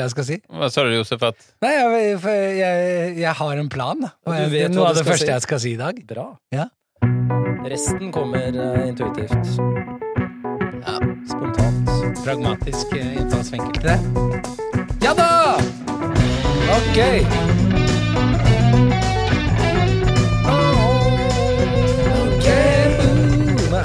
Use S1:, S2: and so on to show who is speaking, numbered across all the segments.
S1: jeg skal si.
S2: Hva sa du, Josef? At
S1: Nei, jeg, for jeg, jeg har en plan, da. Og
S3: Du
S1: jeg, det
S3: vet
S1: er
S3: hva
S1: noe av
S3: du
S1: det
S3: skal
S1: første
S3: si.
S1: jeg skal si i dag.
S3: Bra.
S1: Ja.
S3: Resten kommer eh, intuitivt.
S1: Ja.
S3: Spontant.
S1: Pragmatisk eh, innfallsvinkel til det. Ja da! Ok. Ok, boom.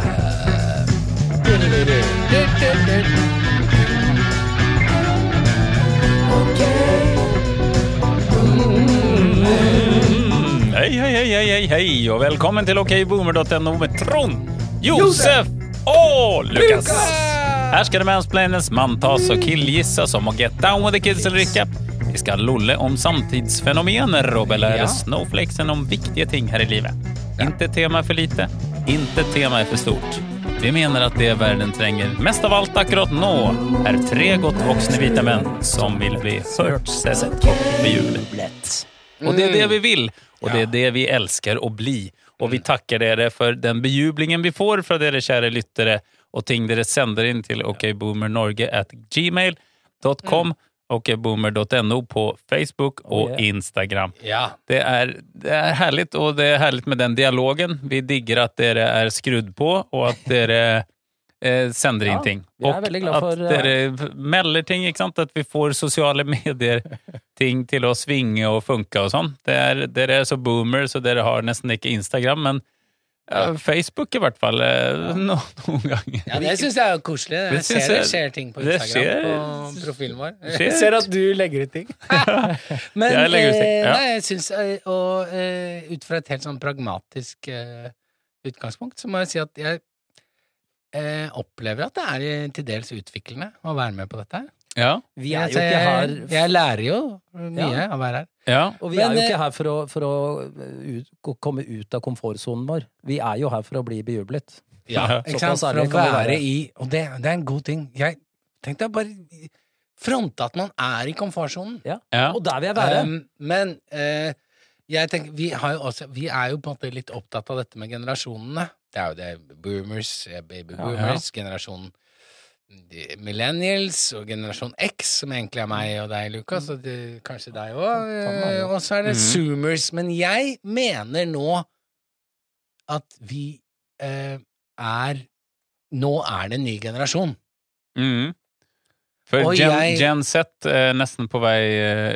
S2: Hei, hei, hei, hei, hei, hei, og velkommen til okboomer.no med Trond, Josef og Lukas. Her skal det mansplaines, manntas og killgissas om å get down with the kids eller ikke. Vi skal lolle om samtidsfenomener og belære
S1: Ja.
S2: snowflakesen om viktige ting her i livet. Inte tema er for lite, inte tema er for stort. Vi mener at det verden trenger mest av alt akkurat nå, er tre godt voksne hvite menn som vil bli hørt, sett og bejublet. Og det er
S3: Mm.
S2: det vi vil, og det er det vi elsker å bli. Og vi takker dere for den bejublingen vi får fra dere kjære lyttere, og ting dere sender inn til okboomernorge at gmail.com, okboomer.no på Facebook
S3: Mm. Oh,
S2: og
S3: yeah.
S2: Instagram.
S1: Ja.
S2: Det er, det er herlig, og det er herlig med den dialogen. Vi digger at dere er skrudd på, og at dere eh, sender inn
S3: Ja,
S2: ting.
S3: vi er
S2: og
S3: veldig glad
S2: at
S3: for, eh,
S2: dere melder ting, ikke sant? At vi får sosiale medier-ting til å svinge og funke og sånn. Det er- Dere er så boomer, så dere har nesten ikke Instagram, men ja, Facebook i hvert fall. eh, No, noen ganger.
S1: Ja, det syns jeg er koselig.
S2: Det
S1: Jeg
S2: synes
S1: ser det
S2: jeg-
S1: skjer ting på
S2: det
S1: Instagram
S2: skjer-
S1: på profilen vår.
S2: skjer.
S1: Jeg ser at du legger ut ting. Men
S2: Jeg legger ut ting,
S1: eh,
S2: ja.
S1: nei, jeg syns eh, Og eh, ut fra et helt sånn pragmatisk eh, utgangspunkt, så må jeg si at jeg eh, opplever at det er eh, til dels utviklende å være med på dette. her.
S2: Ja,
S3: Vi er
S1: Jeg-
S3: jo ikke her
S1: jeg, jeg lærer jo mye
S3: Ja.
S1: av å være her.
S2: ja.
S3: Og vi
S1: Men,
S3: er jo
S1: eh,
S3: ikke her for å, for å eh, ut, ko- komme ut av komfortsonen vår. Vi er jo her for å bli bejublet.
S2: Ja,
S1: ikke
S3: såpass
S1: sant? For å
S3: ærlig kan vi
S1: være
S3: være.
S1: i Og det, det er en god ting. Jeg tenkte jeg bare fronte at man er i komfortsonen.
S2: ja.
S3: Og der vil jeg være!
S1: Um, men eh, jeg tenker, vi, har jo også, vi er jo på en måte litt opptatt av dette med generasjonene. Det er jo det boomers, eh, baby
S3: Ja,
S1: boomers, generasjonen de- millennials og generasjon X, som egentlig er meg og deg, Lukas, og det, kanskje deg òg.
S3: Samme er det.
S1: og så er det
S2: Mhm.
S1: zoomers. Men jeg mener nå at vi eh, er Nå er det en ny generasjon.
S2: Mm. For
S1: Og
S2: Gen,
S1: jeg-
S2: Gen Z er nesten på vei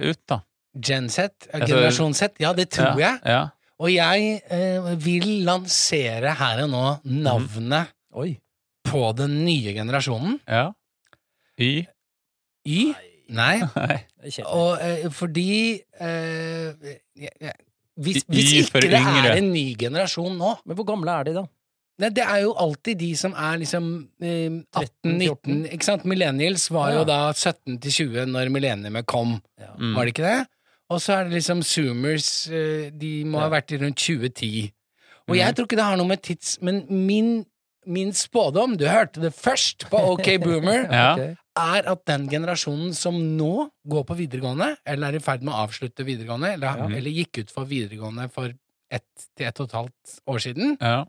S2: eh, ut, da.
S1: Gen Z, eh,
S2: Altså-
S1: generasjon Z. Ja, det tror jeg.
S2: Ja.
S1: Og jeg eh, vil lansere her og nå navnet
S3: Oi.
S1: på den nye generasjonen.
S2: Ja. Y.
S1: Y. Nei.
S2: Nei.
S3: Kjedelig.
S1: Og eh, fordi eh, jeg- jeg- Hvis,
S2: Y
S1: hvis
S2: for
S1: ikke det
S2: yngre.
S1: er en ny generasjon nå
S3: Men hvor gamle er de, da?
S1: Nei, det er jo alltid de som er liksom eh, 18-19 Ikke sant? Millennials var
S3: Ja.
S1: jo da 17 til 20 når millenniumet kom,
S3: Ja.
S2: Mm.
S1: var det ikke det? Og så er det liksom zoomers eh, De må ha
S3: Ja.
S1: vært i rundt 2010. Og
S2: Mhm.
S1: jeg tror ikke det har noe med tids... Men min, min spådom, du hørte det først på OK Boomer,
S2: Ja.
S3: Ok.
S1: er at den generasjonen som nå går på videregående, eller er i ferd med å avslutte videregående, eller,
S2: Ja.
S1: eller gikk ut for videregående for ett til ett og et halvt år siden,
S2: Ja.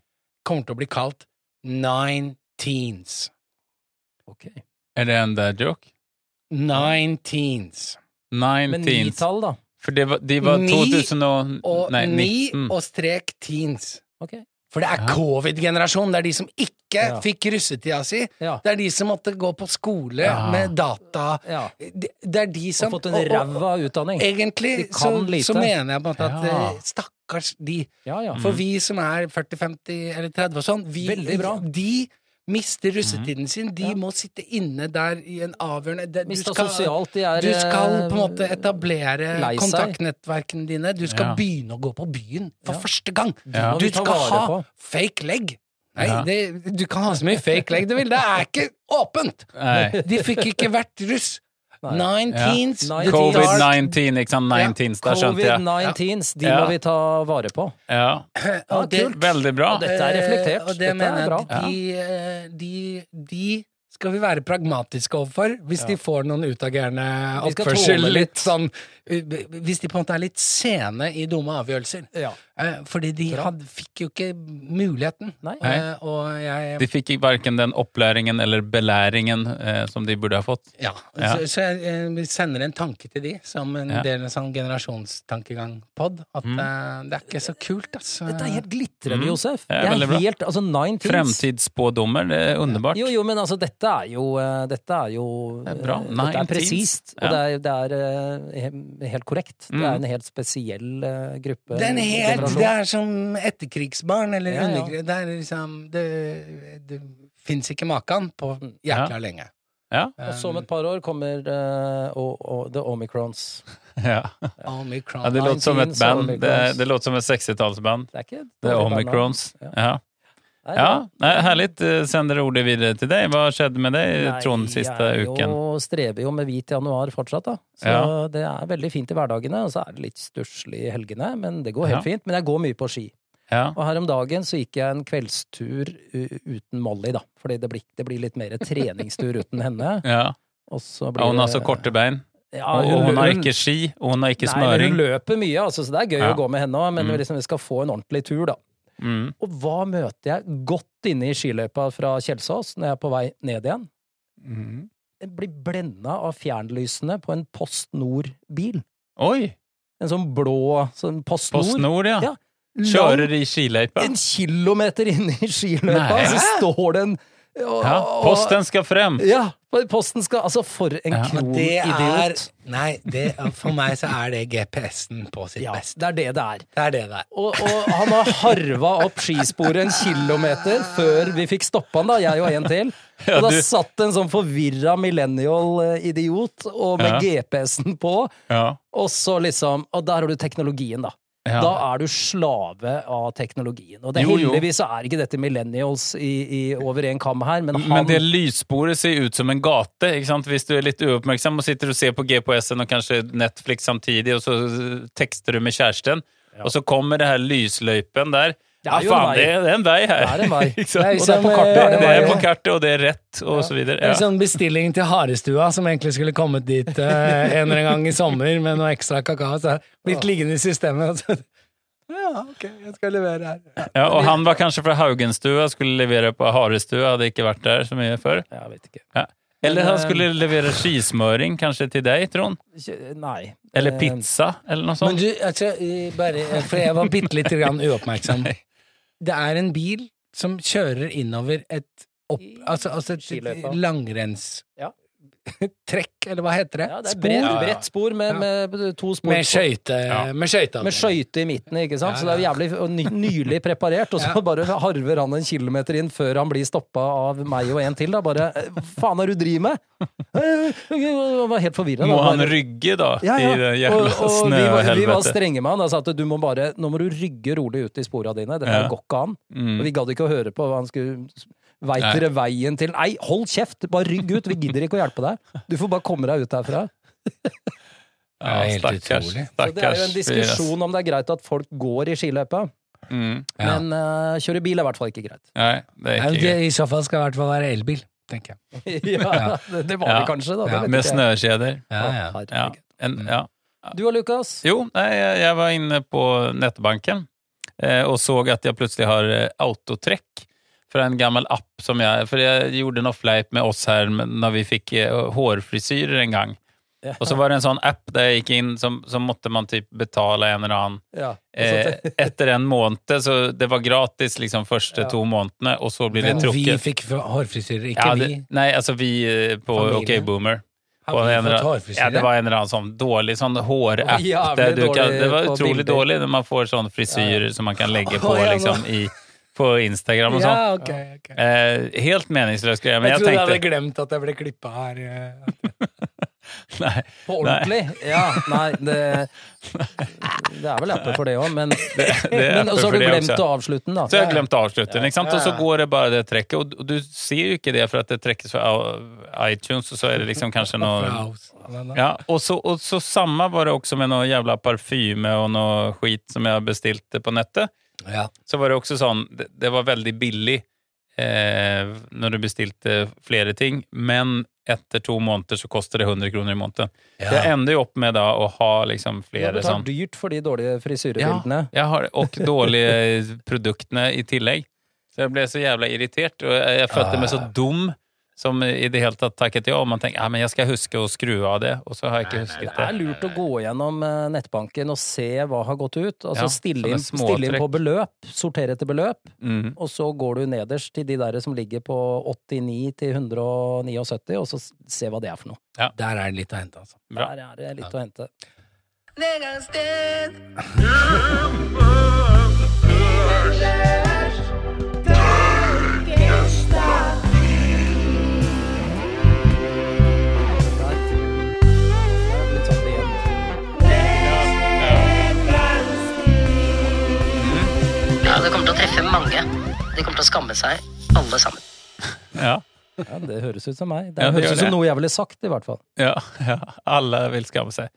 S1: kommer til å bli kalt nine teens.
S3: Ok.
S2: Er det en dad joke?
S1: Nine teens.
S3: Men
S2: 19.
S3: ni-tall, da?
S2: For det var, de var
S1: Ni
S2: 2000 og,
S1: Og
S2: Nei, Mm.
S1: ni
S2: 19.
S1: og strek teens.
S3: Ok.
S1: For det er
S2: Ja.
S1: covid-generasjonen. Det er de som ikke
S3: Ja.
S1: fikk russetida si.
S3: Ja.
S1: Det er de som måtte gå på skole
S2: Ja.
S1: med data.
S3: ja.
S1: Det, det er de som
S3: Har fått en
S1: og- og- Eh,
S3: ræva utdanning.
S1: Egentlig
S3: De
S1: så,
S3: kan lite.
S1: så mener jeg på en måte at
S2: Ja.
S1: eh, stakkars de.
S3: Ja,
S2: Mm.
S3: ja.
S1: For vi som er 40-50 eller 30 og sånn, vi,
S3: Mm. Veldig bra. Mm.
S1: de mister russetiden sin. De
S3: Ja.
S1: må sitte inne der i en avgjørende det, du,
S3: Mista
S1: skal,
S3: sosialt. De er
S1: du skal
S3: eh,
S1: på en måte etablere
S3: lei seg.
S1: kontaktnettverkene dine. Du skal
S2: Ja.
S1: begynne å gå på byen for
S3: Ja.
S1: første gang.
S2: Ja.
S3: må
S1: Du
S3: vi ta
S1: skal
S3: vare
S1: ha
S3: på.
S1: fake leg. Nei,
S2: Ja.
S1: det, du kan ha så mye fake leg du vil. Det er ikke åpent!
S2: Nei.
S1: De fikk ikke vært russ.
S3: Nei.
S1: Nine
S2: Ja.
S1: teens.
S3: Nine
S1: the
S3: teens.
S1: dark
S2: Covid-19, ikke sant? 19, da skjønte jeg.
S3: Covid-19s, de
S2: Ja.
S3: må vi ta vare på.
S2: Ja.
S1: Og det-
S3: kult.
S2: Veldig bra.
S3: Og Dette er reflektert.
S1: Eh, Og det
S3: Dette
S1: mener
S3: er
S1: jeg
S3: bra.
S1: at de, eh, de, de skal vi være pragmatiske overfor hvis
S3: Ja.
S1: de får noen utagerende
S3: Vi skal
S1: oppførsel.
S3: tåle litt.
S1: Litt sånn, uh, hvis de på en måte er litt sene i dumme avgjørelser.
S3: Ja.
S1: Eh, Fordi de
S3: Bra.
S1: hadde, fikk jo ikke muligheten.
S3: Nei.
S1: Eh, Og jeg
S2: De fikk verken den opplæringen eller belæringen eh, som de burde ha fått.
S1: Ja.
S2: Ja.
S1: Så, så jeg eh, vi sender en tanke til de, som en
S2: Ja.
S1: del av en sånn generasjonstankegang-pod, at eh, det er ikke så kult, altså.
S3: Mm. Dette er helt glitrende,
S2: Mm.
S3: Josef.
S2: Ja,
S3: Det
S2: veldig bra.
S3: er helt, altså nine things.
S2: Fremtidsspådommer, det er underbart.
S3: Jo, jo, men altså, dette er jo eh, Dette er jo
S2: Det er bra.
S3: eh,
S2: Nine
S3: Dette er presist,
S2: teens.
S3: og det er, det er eh, he- helt korrekt. Det
S2: Mm.
S3: er en helt spesiell eh, gruppe.
S1: Det er, en helt,
S3: generasjon.
S1: det er som etterkrigsbarn, eller
S3: Ja, ja.
S1: underkrig... Det er liksom Det, det fins ikke maken på jækla lenge. Eh,
S2: Ja.
S3: Og så om et par år kommer eh, og, og, The Omicrons.
S2: Ja.
S1: Omicron.
S2: Ja, det låter som et
S3: Nineteens
S2: band.
S3: og
S2: Det,
S3: Omicrons.
S2: det låter som et 60-tallsband.
S3: Det er ikke
S2: Det er Omicrons.
S3: Ja.
S2: Ja.
S3: Nei,
S2: Ja, nei, härligt. Eh, Sänder ordet videre til deg. Hva skjedde med deg,
S3: Nei,
S2: Trond, siste
S3: Jeg
S2: uken?
S3: er jo- strever jo med hvit januar fortsatt, da. Så
S2: Ja.
S3: det er veldig fint i hverdagene, og så er det litt stusslig i helgene, men det går
S2: Ja.
S3: helt fint. Men jeg går mye på ski.
S2: Ja.
S3: Og her om dagen så gikk jeg en kveldstur u- uten Molly, da. Fordi det blir, det blir litt mer treningstur uten henne.
S2: Ja.
S3: Og så blir
S2: Ja, hun har
S3: det-
S2: så korte bein,
S3: Ja,
S2: og, og hun har
S3: lø-
S2: ikke ski, og hun har ikke
S3: Nei, men
S2: smøring.
S3: hun løper mye, altså, så det er gøy
S2: Ja.
S3: å gå med henne òg, men
S2: Mm.
S3: liksom, vi skal få en ordentlig tur, da.
S2: Mm.
S3: Og hva møter jeg godt inne i skiløypa fra Kjelsås når jeg er på vei ned igjen?
S2: Mm.
S3: Jeg blir blenda av fjernlysene på en Post Nord-bil.
S2: Oi!
S3: En sånn blå sånn Post Nord.
S2: Post Nord, ja.
S3: Ja. Lang-
S2: Kjører i skiløypa.
S3: En kilometer inne i skiløypa,
S2: Nei.
S3: så står det en og-
S2: Ja. Posten skal frem!
S3: Ja, posten skal Altså, for en
S2: Ja.
S3: kron
S1: Det er
S3: idiot.
S1: Nei, det, for meg så er det GPS-en på sitt
S3: Ja,
S1: best.
S3: det er det det er.
S1: Det er det det er.
S3: Og, og han har harva opp skisporet en kilometer før vi fikk stoppa han, da, jeg og en til.
S2: Ja,
S3: Og da
S2: du-
S3: satt en sånn forvirra millennial-idiot og med
S2: Ja.
S3: GPS-en på,
S2: Ja.
S3: og så liksom Og der har du teknologien, da.
S2: Ja.
S3: Da er du slave av teknologien. Og det,
S2: Jo, jo.
S3: heldigvis så er ikke dette millennials i, i, over en kam her, men han
S2: Men det lyssporet ser ut som en gate. Ikke sant? Hvis du er litt uoppmerksom og sitter og ser på GPS-en og kanskje Netflix samtidig, og så øh, tekster du med kjæresten, og så kommer det her lysløypen der.
S3: Det
S2: Ja,
S3: er jo en
S2: faen,
S3: vei.
S2: det er, det er en vei her!
S3: Det er en vei.
S2: Ikke
S1: Det er
S2: sant?
S3: Og det er
S1: som,
S3: på
S1: eh,
S3: kartet, er det
S2: Det
S3: bare-
S2: er på kartet, og det er rett, og så
S1: Det
S2: videre.
S1: er En
S2: Ja.
S1: sånn bestilling til Harestua som egentlig skulle kommet dit eh, en eller annen gang i sommer med noe ekstra kakao. Så er det blitt liggende i systemet. Og så, ja, ok, jeg skal levere her. Ja.
S2: Ja, og han var kanskje fra Haugenstua, skulle levere på Harestua, hadde ikke vært der så mye før.
S3: Jeg vet ikke.
S2: Ja. Eller han
S3: Men, eh,
S2: skulle levere skismøring, kanskje til deg, Trond?
S3: Ikke- Nei.
S2: Eller
S3: Eh,
S2: pizza, eller noe
S1: Men
S2: sånt?
S1: du, altså, eh, bare, eh, for jeg var bitte lite grann uoppmerksom. Det er en bil som kjører innover et opp, altså, altså et
S3: Skiløypa.
S1: langrennstrekk,
S3: Ja.
S1: eller hva heter det?
S3: Ja, det er
S1: Spor?
S3: bredt,
S2: Ja, ja.
S3: bredt spor med,
S1: Ja.
S3: med to spor.
S1: Med skøyte.
S2: Ja.
S1: Med skøyte.
S3: Med skøyte i midten, ikke sant? Så det er jo jævlig og ny, nylig preparert, og så
S1: Ja.
S3: bare harver han en kilometer inn før han blir stoppa av meg og en til, da. Bare «Eh, Hva faen er det du driver med?! Han var helt forvirra.
S2: Må han rygge, da,
S3: ja, ja.
S2: i det
S3: Og,
S2: jævla
S3: og vi, var, vi var
S2: snøhelvetet?
S3: strenge med han og sa at du må bare Nå må du rygge rolig ut i spora dine. Dette
S2: Ja.
S3: går ikke an.
S2: Mm.
S3: Og vi gadd ikke å høre på hva han skulle Veit
S2: Nei.
S3: dere veien til Nei, hold kjeft! Bare rygg ut! Vi gidder ikke å hjelpe deg. Du får bare komme deg ut herfra.
S2: Ja,
S1: Det er helt
S2: stakkars,
S1: utrolig.
S2: Stakkars.
S3: Så det er jo en
S2: fyr,
S3: diskusjon om det er greit at folk går i skiløypa,
S2: ass. Mm.
S1: Ja.
S3: men eh, kjøre bil er i hvert fall ikke greit.
S2: Nei, det
S1: Nei,
S2: er
S1: men
S2: ikke
S1: det,
S2: greit.
S1: I så fall skal det i hvert fall være elbil, tenker jeg.
S3: ja, det, det var det
S2: Ja.
S3: kanskje, da. Det
S1: Ja,
S3: vet
S2: Med
S3: ikke jeg.
S2: snøkjeder.
S1: Ja, ja.
S3: Herregud.
S2: Ja. En,
S3: Mm.
S2: ja.
S3: Du og Lukas?
S2: Jo, nei, jeg jeg var inne på nettbanken eh, og så at jeg plutselig har eh, autotrekk fra en gammel app som jeg For jeg gjorde en offleip med oss her men når vi fikk eh, hårfrisyrer en gang.
S3: Ja.
S2: Og så var det en sånn app der jeg gikk inn, som, så måtte man typ betale en eller annen
S3: Ja.
S2: eh, Etter en måned, så det var gratis liksom første
S3: Ja.
S2: to månedene, og så blir det
S1: Men vi
S2: trukket.
S1: fikk hårfrisyrer, ikke
S2: Ja, det,
S1: vi.
S2: nei, altså vi eh, på
S1: Familie.
S2: OK Boomer.
S1: Har
S2: På
S1: vi
S2: en eller
S1: fått
S2: annen-
S1: hårfrisyre?
S2: Ja, det var en eller annen sånn dårlig sånn hårapp.
S3: Det var jævlig
S2: der du kan- Det var
S3: dårlig på
S2: utrolig
S3: bilder.
S2: dårlig når man får sånn frisyrer som man kan legge på
S1: Å, ja,
S2: liksom, i, på Instagram og sånn.
S1: Ja, ok, ok.
S2: Eh, helt meningsløs greie,
S1: jeg
S2: men jeg,
S1: trodde jeg hadde
S2: tenkte
S1: glemt at jeg ble klippa her. eh.
S2: nei,
S3: På ordentlig? Ja, nei, det Det er vel apper for det òg, men,
S2: det er
S3: men
S2: apper
S3: Og så
S2: for
S3: har du
S2: det
S3: glemt
S2: også.
S3: å avslutte den, da.
S2: Så jeg glemte avslutten, ikke sant?
S1: Ja,
S2: liksom. og så
S1: ja.
S2: går det bare det trekket. Og, og du ser jo ikke det, for at det trekkes fra i- iTunes, og så er det liksom kanskje noe
S1: eh,
S2: Ja, og så, og så samme var det også med noe jævla parfyme og noe skit som jeg bestilte på nettet.
S1: Ja.
S2: så var det også sånn Det, det var veldig billig eh, når du bestilte flere ting, men etter to måneder så koster det 100 kroner i måneden. Jeg ender jo opp med da å ha liksom
S3: Du har
S2: flere sånn
S3: betalt dyrt for de dårlige frisyrebildene.
S2: jeg har, og dårlige produktene i tillegg. Så jeg ble så jævla irritert, og jeg jeg følte meg så
S3: Ah.
S2: dum som i det hele tatt takket ja. Og man tenker ja, men jeg skal huske å skru av det, og så har jeg ikke
S3: Det
S2: husket
S3: er
S2: det.
S3: lurt å gå gjennom eh, nettbanken og se hva har gått ut. Altså
S2: Ja,
S3: stille,
S2: sånne
S3: inn, stille inn
S2: småtrekk.
S3: på beløp, sortere etter beløp,
S2: Mm.
S3: og så går du nederst til de der som ligger på 89 til 179, og så s- se hva det er for noe.
S1: Der er det litt å hente, altså.
S2: Bra.
S3: Der er det litt å hente.
S4: Vegas Dead.
S3: Der. Litt sånn igjen.
S5: Ja, det kommer til å treffe mange. De kommer til å skamme seg, alle sammen.
S2: Ja,
S3: Ja, det høres ut som meg. Det
S2: Ja, det
S3: høres
S2: gjør
S3: ut som
S2: det.
S3: noe jeg ville sagt, i hvert fall.
S2: ja, ja. Alle vil skamme seg.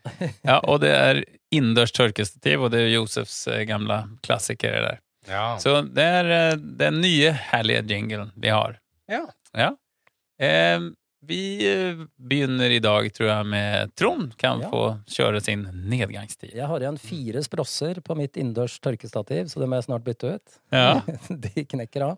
S2: Ja, og det er innendørs tørkestativ, og det er Josefs eh, gamle klassiker. det Der. Så det er eh, den nye herlige jinglen vi har.
S1: Ja.
S2: Eh, vi eh, begynner i dag, tror jeg, med Trond kan
S3: Ja.
S2: få kjøre sin nedgangstid.
S3: Jeg har igjen fire sprosser på mitt innendørs tørkestativ, så det må jeg snart bytte ut.
S2: Ja.
S3: De knekker av.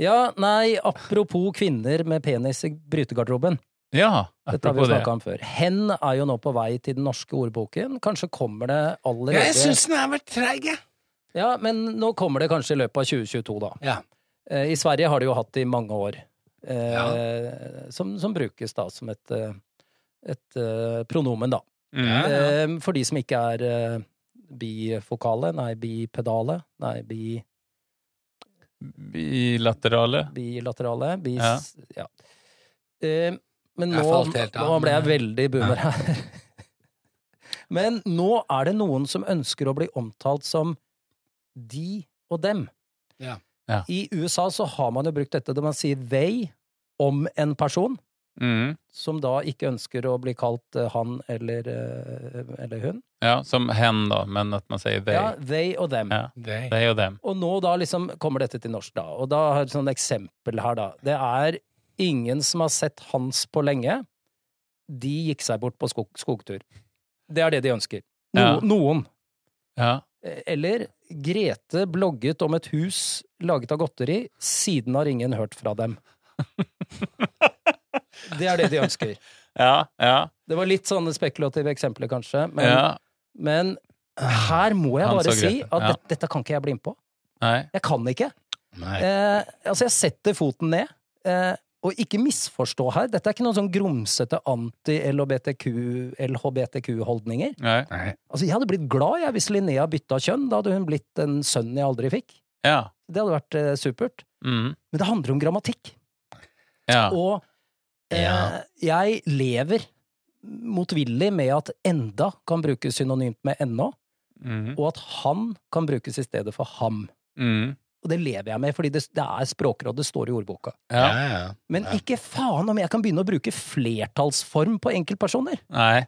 S3: Ja, nei, apropos kvinner med penis i brytegarderoben.
S2: Ja,
S3: Dette har vi
S2: apropos det.
S3: snakka om før. Hen er jo nå på vei til den norske ordboken. Kanskje kommer det allerede
S1: Jeg syns den har vært treig, jeg.
S3: Ja, men nå kommer det kanskje i løpet av 2022, da.
S1: Ja.
S3: Eh, I Sverige har de jo hatt det i mange år. Eh,
S1: Ja.
S3: som, som brukes da som et, eh, et eh, pronomen, da.
S2: Mm.
S3: Eh, for de som ikke er eh, bifokale, nei, bipedale, nei, bi,
S2: Bilaterale.
S3: bilaterale, bis...
S2: Ja.
S3: Ja. Eh, men
S1: Jeg
S3: nå,
S1: falt helt av,
S3: nå ble jeg
S1: men-
S3: veldig boomer her. Men nå er det noen som ønsker å bli omtalt som de og dem.
S1: Ja.
S2: Ja.
S3: I USA så har man jo brukt dette når man sier they om en person,
S2: Mm.
S3: som da ikke ønsker å bli kalt eh, han eller, eh, eller hun.
S2: Ja, som hen da, men at man sier they.
S3: Ja, they og dem.
S2: Ja.
S1: Det-
S2: They og dem.
S3: Og nå da liksom kommer dette til norsk, da. Og da har jeg et sånt eksempel her, da. Det er ingen som har sett Hans på lenge. De gikk seg bort på skog skogtur. Det er det de ønsker. No
S2: Ja.
S3: Noen.
S2: Ja.
S3: Eh, Eller Grete blogget om et hus laget av godteri. Siden har ingen hørt fra dem. Det er det de ønsker.
S2: Ja, ja,
S3: Det var litt sånne spekulative eksempler, kanskje. Men,
S2: ja.
S3: men her må jeg
S2: Hans
S3: bare
S2: og
S3: si
S2: Grete,
S3: at
S2: ja.
S3: dette, dette kan ikke jeg bli med på.
S2: Nei.
S3: Jeg kan ikke.
S1: Nei.
S3: Eh, altså, jeg setter foten ned. Eh, og ikke misforstå her, dette er ikke noen sånn grumsete anti-LHBTQ-holdninger.
S2: Nei.
S1: Nei.
S3: Altså, jeg hadde blitt glad jeg hvis Linnea bytta kjønn. Da hadde hun blitt en sønn jeg aldri fikk.
S2: Ja.
S3: Det hadde vært eh, supert.
S2: Mm.
S3: Men det handler om grammatikk.
S2: Ja.
S3: Og eh,
S1: Ja.
S3: jeg lever motvillig med at enda kan brukes synonymt med ennå,
S2: Mm.
S3: og at han kan brukes i stedet for ham.
S2: Mm.
S3: Og det lever jeg med, fordi det, det er Språkrådet, det står i ordboka.
S1: Ja,
S2: Ja.
S1: ja.
S3: Men ikke faen om jeg kan begynne å bruke flertallsform på enkeltpersoner!
S2: Nei.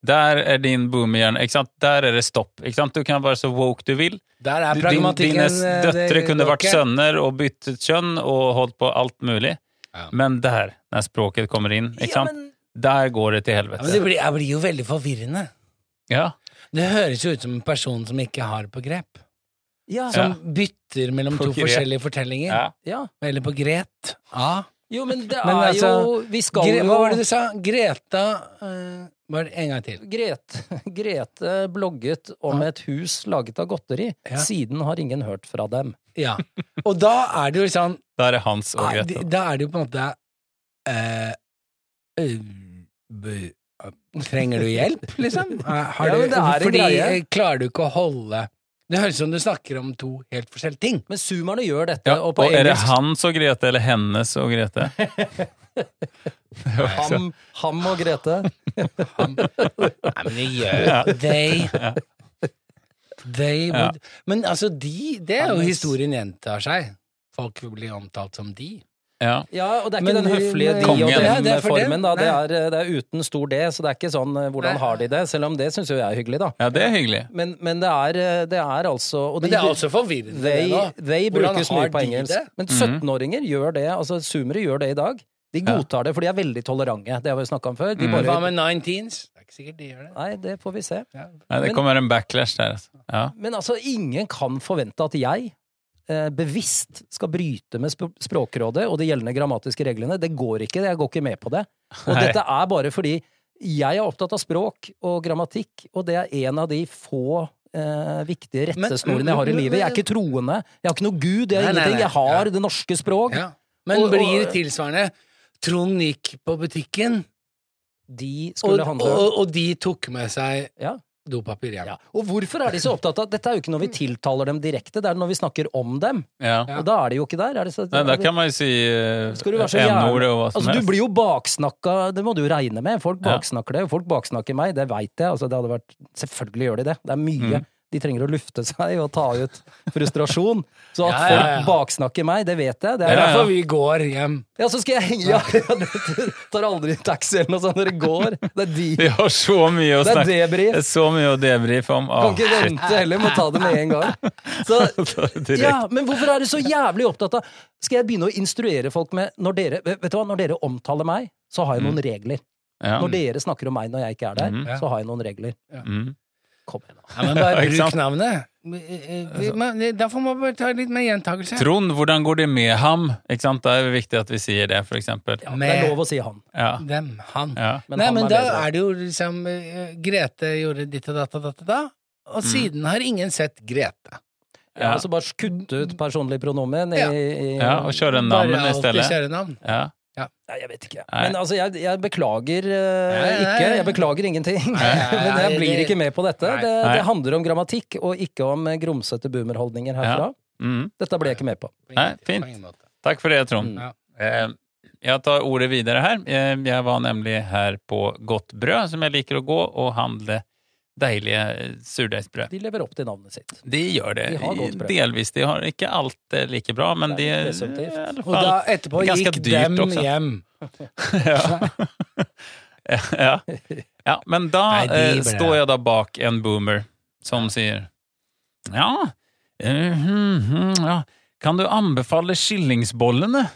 S2: Der er din boomerhjerne. Ikke sant? Der er det stopp. Ikke sant? Du kan være så woke du vil.
S1: Der er
S2: Du- Din,
S1: pragmatikken
S2: dine
S1: eh,
S2: døtre
S1: det
S2: kunne
S1: går
S2: vært
S1: ikke.
S2: sønner og byttet kjønn og holdt på alt mulig.
S1: Ja.
S2: Men der, når språket kommer inn, ikke
S3: Ja,
S2: sant?
S3: men
S2: der går det til
S1: Ja, men det
S2: helvete.
S1: blir, jeg blir jo veldig forvirrende.
S2: Ja.
S1: Det høres jo ut som en person som ikke har på grep.
S3: ja,
S1: Som bytter mellom
S2: På
S1: to
S2: grep.
S1: forskjellige fortellinger.
S2: Ja.
S3: ja.
S1: Eller på Gret. Ja.
S3: Jo, men det er
S1: Men
S3: jo
S1: altså,
S3: Vi skal
S1: Gre
S3: jo
S1: hva var det du sa? Greta eh, Bare en gang til.
S3: Grete, Grete blogget om et hus laget av godteri.
S1: Ja.
S3: Siden har ingen hørt fra dem.
S1: Ja. Og da er det jo sånn
S2: Der er Hans og
S1: Nei,
S2: Greta.
S1: de- Da er det jo på en måte eh, eh, b- Trenger du hjelp, liksom? Eh, Har
S3: Ja,
S1: du,
S3: men det er en
S1: fordi
S3: greie.
S1: eh, klarer du ikke å holde Det høres ut som du snakker om to helt forskjellige ting.
S3: Men zoomerne gjør dette,
S2: Ja,
S3: og
S2: og
S3: på
S2: er det
S3: engelsk
S2: hans og Grete, eller hennes og Grete?
S3: ham, ham og Grete.
S1: Han, nei, men de gjør They They
S2: Ja.
S1: would Men altså, de Det er jo
S3: Hans.
S1: historien gjentar seg. Folk vil bli omtalt som de.
S2: Ja.
S3: Ja, og det er ikke
S1: Men
S3: den høflige
S1: hun-
S3: de og
S2: Kongen.
S3: dem
S2: Ja,
S1: det er for dem.
S3: formen, da. Det
S1: Nei.
S3: er, eh, det er uten stor D, så det er ikke sånn eh, hvordan
S1: Nei.
S3: har de det? Selv om det syns jo jeg er hyggelig, da.
S2: ja, det er hyggelig.
S3: Men, men det, er, eh, det er altså og
S1: Men det er
S3: de-
S1: også forvirrende, det
S3: They,
S1: nå.
S3: they
S1: Hvordan
S3: brukes
S1: har
S3: mye på
S1: de
S3: engelsk.
S1: det?
S3: Men 17-åringer gjør det. altså Zoomere gjør det i dag. De
S2: Mhm. Ja.
S3: godtar det, for de er veldig tolerante. Det har vi snakka om før. De
S2: Mm.
S1: Men
S3: bare,
S1: Hva med 19s? Det er ikke sikkert de gjør det.
S3: nei, det får vi se.
S1: Ja.
S2: Nei, det
S3: Men-
S2: kommer en backlash der. Altså. Ja.
S3: Men altså, ingen kan forvente at jeg eh, bevisst skal bryte med sp Språkrådet og de gjeldende grammatiske reglene. Det går ikke. Jeg går ikke med på det. Og
S2: Nei.
S3: dette er bare fordi jeg er opptatt av språk og grammatikk, og det er en av de få eh, viktige
S1: Men-
S3: rettesnorene jeg har i
S1: men-
S3: livet. Jeg er ikke troende. Jeg har ikke noe gud. Jeg
S1: Nei, nei,
S3: har ingenting.
S1: nei.
S3: Jeg
S1: Ja.
S3: har det norske språk.
S1: Ja. Men
S3: Og-
S1: blir
S3: og-
S1: tilsvarende Trond gikk på butikken,
S3: de
S1: og,
S3: skulle handle
S1: og, og de tok med seg
S3: ja,
S1: dopapir hjem.
S3: ja. Og hvorfor er de så opptatt av Dette er jo ikke når vi tiltaler dem direkte, det er når vi snakker om dem.
S2: Ja.
S1: Ja.
S3: Og da er de jo ikke der. Er det så,
S2: Nei, da kan man jo si uh,
S3: Skal du være så jævlig-
S2: n-ordet og hva som
S3: Altså, du
S2: helst.
S3: blir jo baksnakka, det må du jo regne med. Folk
S2: Ja.
S3: baksnakker det, og folk baksnakker meg, det veit jeg. Altså, det hadde vært, selvfølgelig gjør de det. Det er
S2: Mm.
S3: mye. De trenger å lufte seg og ta ut frustrasjon. Så at
S1: Ja, ja, ja.
S3: folk baksnakker meg, det vet jeg. Det
S1: Det
S3: er,
S1: er
S2: Ja, ja.
S1: derfor vi går hjem.
S3: ja, så skal jeg henge ja, Du tar aldri taxi eller noe sånt når det går. Det er de.
S2: Vi har så mye å
S3: Det er
S2: snakke
S3: debrief.
S2: Det er så mye å debrife om. Ah,
S3: Kan
S2: Åh,
S3: ikke
S2: shit.
S3: vente heller, må ta det med en gang. Så,
S2: Direkte.
S3: ja, men hvorfor er du så jævlig opptatt av Skal jeg begynne å instruere folk med når dere, Vet vet du hva, når dere omtaler meg, så har jeg noen regler.
S2: Mm. Ja.
S3: Når dere snakker om meg når jeg ikke er der,
S2: Mhm.
S3: så har jeg noen regler.
S2: Mm.
S3: Kom igjen, da.
S1: Ja, men bare
S2: Ikke sant?
S1: bruk navnet. Eh, eh,
S3: Altså-
S1: vi- men, Da får man bare ta litt mer gjentakelse.
S2: Trond, hvordan går det med ham? Ikke sant? Da er det viktig at vi sier det, for eksempel.
S3: Ja, det er
S1: Med-
S3: lov å si han.
S2: Ja.
S1: Dem. Han.
S2: Ja.
S3: Men
S1: Nei,
S3: han
S1: men
S3: er
S1: da
S3: bedre.
S1: er det jo liksom eh, Grete gjorde ditt og datt og datt og da, og siden har ingen sett Grete.
S3: Ja,
S2: Ja.
S3: altså bare kutt ut personlige pronomen i,
S1: Ja.
S3: i
S2: ja, og kjøre
S1: Bare
S2: navnet i
S1: alltid
S2: stedet.
S1: kjøre navn.
S2: Ja.
S3: Nei, jeg vet ikke.
S2: Nei.
S3: Men altså, jeg, jeg beklager
S1: Nei,
S3: eh,
S1: nei,
S3: ikke.
S1: nei.
S3: Jeg beklager ingenting.
S1: nei,
S3: Men jeg
S1: nei,
S3: blir
S1: det-
S3: ikke med på dette.
S1: Nei.
S3: Det,
S2: Nei.
S3: det handler om grammatikk, og ikke om eh, grumsete boomerholdninger herfra.
S2: Mm.
S3: Dette ble jeg ikke med på.
S1: På
S2: Nei,
S1: ingen-
S2: fint.
S1: på ingen måte.
S2: Takk for det, Trond.
S3: Mm.
S1: Ja.
S2: Eh, Jeg tar ordet videre her. Eh, Jeg var nemlig her på Godt Brød, som jeg liker å gå, og handle deilige eh, surdeigsbrød.
S3: De lever opp til navnet sitt.
S2: De gjør det,
S3: De har godt brød.
S2: delvis. De har ikke alt eh, like bra, men de
S3: Det er
S2: i
S3: presumptivt.
S2: alle
S1: Og da
S2: fall
S1: etterpå
S2: Ganske
S1: gikk dem
S2: dyrt også.
S1: hjem.
S2: ja. ja. ja, men da
S1: Nei, de
S2: eh,
S1: bare-
S2: står jeg da bak en boomer som sier Ja, eh, hm, hm, ja. kan du anbefale skillingsbollene?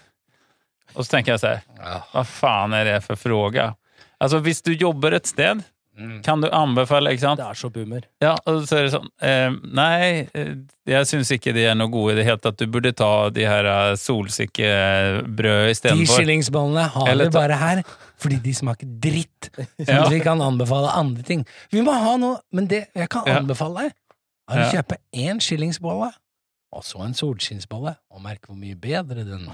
S2: Og så tenker jeg så her, hva faen er det for fråga? Altså, hvis du jobber et sted,
S1: Mm.
S2: kan du anbefale, ikke sant?
S3: Det er så boomer.
S2: Ja, og så er det sånn eh, Nei, eh, jeg syns ikke det er noe god idé helt at du burde ta de her eh, solsikkebrød
S1: De
S2: istedenfor.
S1: skillingsbollene har
S2: Eller
S1: vi
S2: ta-
S1: bare her fordi de smaker dritt. Så
S2: Ja.
S1: vi kan anbefale andre ting. Vi må ha noe Men det jeg kan
S2: Ja.
S1: anbefale deg, er å
S2: Ja.
S1: kjøpe én skillingsbolle, og så en solskinnsbolle, og merke hvor mye bedre den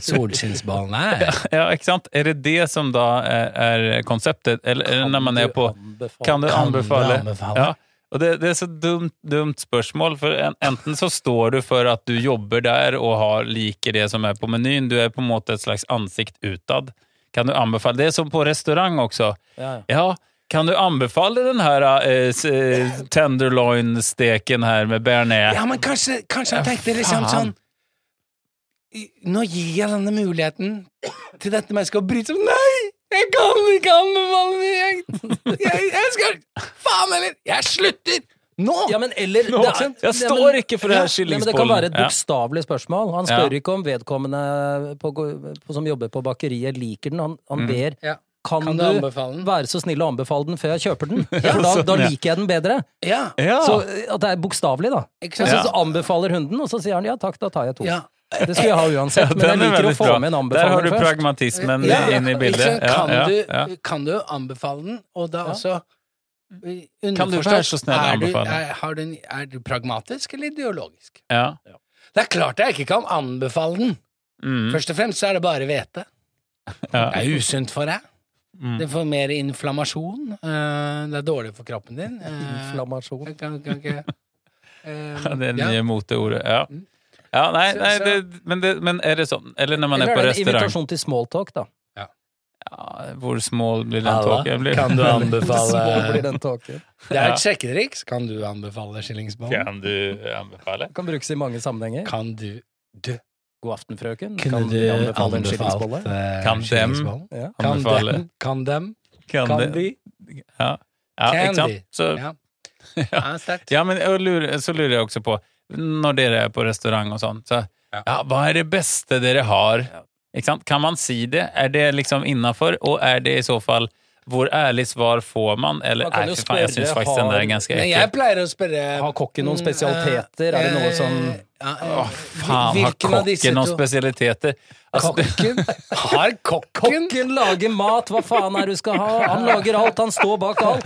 S1: solskinnsbollen er.
S2: Ja, ikke sant? Er det det som da eh, er konseptet? Eller er det når man er på Kan du
S1: Kan du
S2: anbefale?
S1: anbefale?
S2: Ja. Og det, det er så dumt, dumt spørsmål, for en, enten så står du for at du jobber der og har liker det som er på menyen, du er på en måte et slags ansikt utad. Kan du anbefale Det er som på restaurang også.
S3: Ja, ja.
S2: Ja, kan du anbefale den her eh, s- eh, tenderloin-steken her med bearnés?
S1: Ja, men kanskje, kanskje han
S2: Ja,
S1: tenkte liksom
S2: faen.
S1: sånn "I- Nå gir jeg denne muligheten til dette mennesket å bryte seg Nei! Jeg kan ikke anbefale det! Jeg, jeg, jeg skal Faen heller! Jeg slutter! Nå!
S3: Ja, men eller
S2: Nå,
S3: det er-
S2: jeg
S3: Ja,
S2: står
S3: men-
S2: ikke for det her
S3: Ja, men Det kan
S2: skillingsbollen.
S3: være et
S2: Ja.
S3: bokstavelig spørsmål. Han spør ikke om vedkommende på, på, som jobber på bakeriet, liker den. Han,
S2: Mm.
S3: han ber
S1: Ja.
S3: kan,
S1: Kan du
S3: du
S1: anbefale den?
S3: være så snill å anbefale den før jeg kjøper den. For da,
S2: sånn,
S3: da
S2: ja.
S3: liker jeg den bedre.
S1: Ja,
S2: Ja.
S3: Så eh, at det er bokstavelig, da.
S1: ikke sant?
S3: Og så,
S2: Ja.
S3: så anbefaler hunden, og så sier han ja takk, da tar jeg to.
S1: Ja.
S3: Det skulle jeg ha uansett, men
S2: Den
S3: jeg
S2: er
S3: liker å
S2: veldig
S3: få
S2: bra.
S3: med en
S2: Der har du
S3: anbefaling først.
S2: pragmatismen
S1: Ja,
S2: inn
S1: ikke
S2: i
S1: sant?
S2: bildet. Ja,
S1: Kan,
S2: ja, ja.
S1: Du, kan du anbefale den, og da også eh,
S2: Kan du
S1: underforstått,
S2: være så snill å
S1: er du-
S2: anbefale den?
S1: Er, har du en- er du pragmatisk eller ideologisk?
S2: Ja.
S1: Det er klart jeg ikke kan anbefale den.
S2: Mm,
S1: Først og fremst så er det bare hvete.
S2: ja.
S1: Det er usunt for deg.
S2: Mm.
S1: Det får mer inflammasjon. eh, det er dårlig for kroppen din. eh,
S3: Inflammasjon.
S1: jeg kan, kan ikke eh,
S2: Ja, det er
S1: ja.
S2: nye moteordet. Ja. ja, nei,
S1: Så-
S2: nei
S1: så-
S2: det, men, det, men er det sånn? Eller når man
S3: Eller
S2: er på
S3: er det en
S2: restaurant?
S3: invitasjon til smalltalk, da?
S2: Ja, hvor smal blir den
S1: Halla,
S2: tåken? Blir-
S1: Kan du
S3: Small blir
S1: anbefale
S3: den talken.
S1: Det er
S2: Ja.
S1: et sjekketriks. Kan du anbefale skillingsbånd?
S2: Kan du anbefale?
S3: Kan brukes i mange sammenhenger.
S1: Kan du Du,
S3: God aften, frøken.
S1: Kunne
S3: Kan
S1: du
S3: vi anbefale en
S1: anbefalt
S3: skillingsbolle?
S1: eh,
S2: Kan dem-
S1: skillingsbolle?
S3: Ja.
S1: Kan
S2: Anbefale.
S1: dem, kan dem,
S2: Kan
S1: kan
S2: det
S1: de?
S2: Ja, ja ikke
S1: Candy.
S2: sant? Så,
S1: Ja.
S2: ja.
S1: Ja, sterkt.
S2: Ja, men og lurer, så lurer jeg også på, når dere er på restaurant og sånn, så
S1: Ja.
S2: ja. hva er det beste dere har?
S3: Ja.
S2: Ikke sant? Kan man si det? Er det liksom innenfor, og er det i så fall, hvor ærlig svar får man? Eller,
S3: Man kan
S2: nei,
S3: jo
S2: fy faen, jeg
S3: spørre,
S2: synes faktisk den der
S3: har-
S2: er ganske
S1: Men jeg
S2: ekkel.
S1: pleier å spørre mm, eh,
S3: Har kokken noen spesialiteter? Er det noe som
S2: Åh, faen, har
S1: Hvilken av disse
S2: kokken noen
S1: to-
S2: spesialiteter? Altså, det-
S1: Kokken? Har kokken?
S3: Kokken lager mat, hva faen er det du skal ha? Han lager alt, han står bak alt.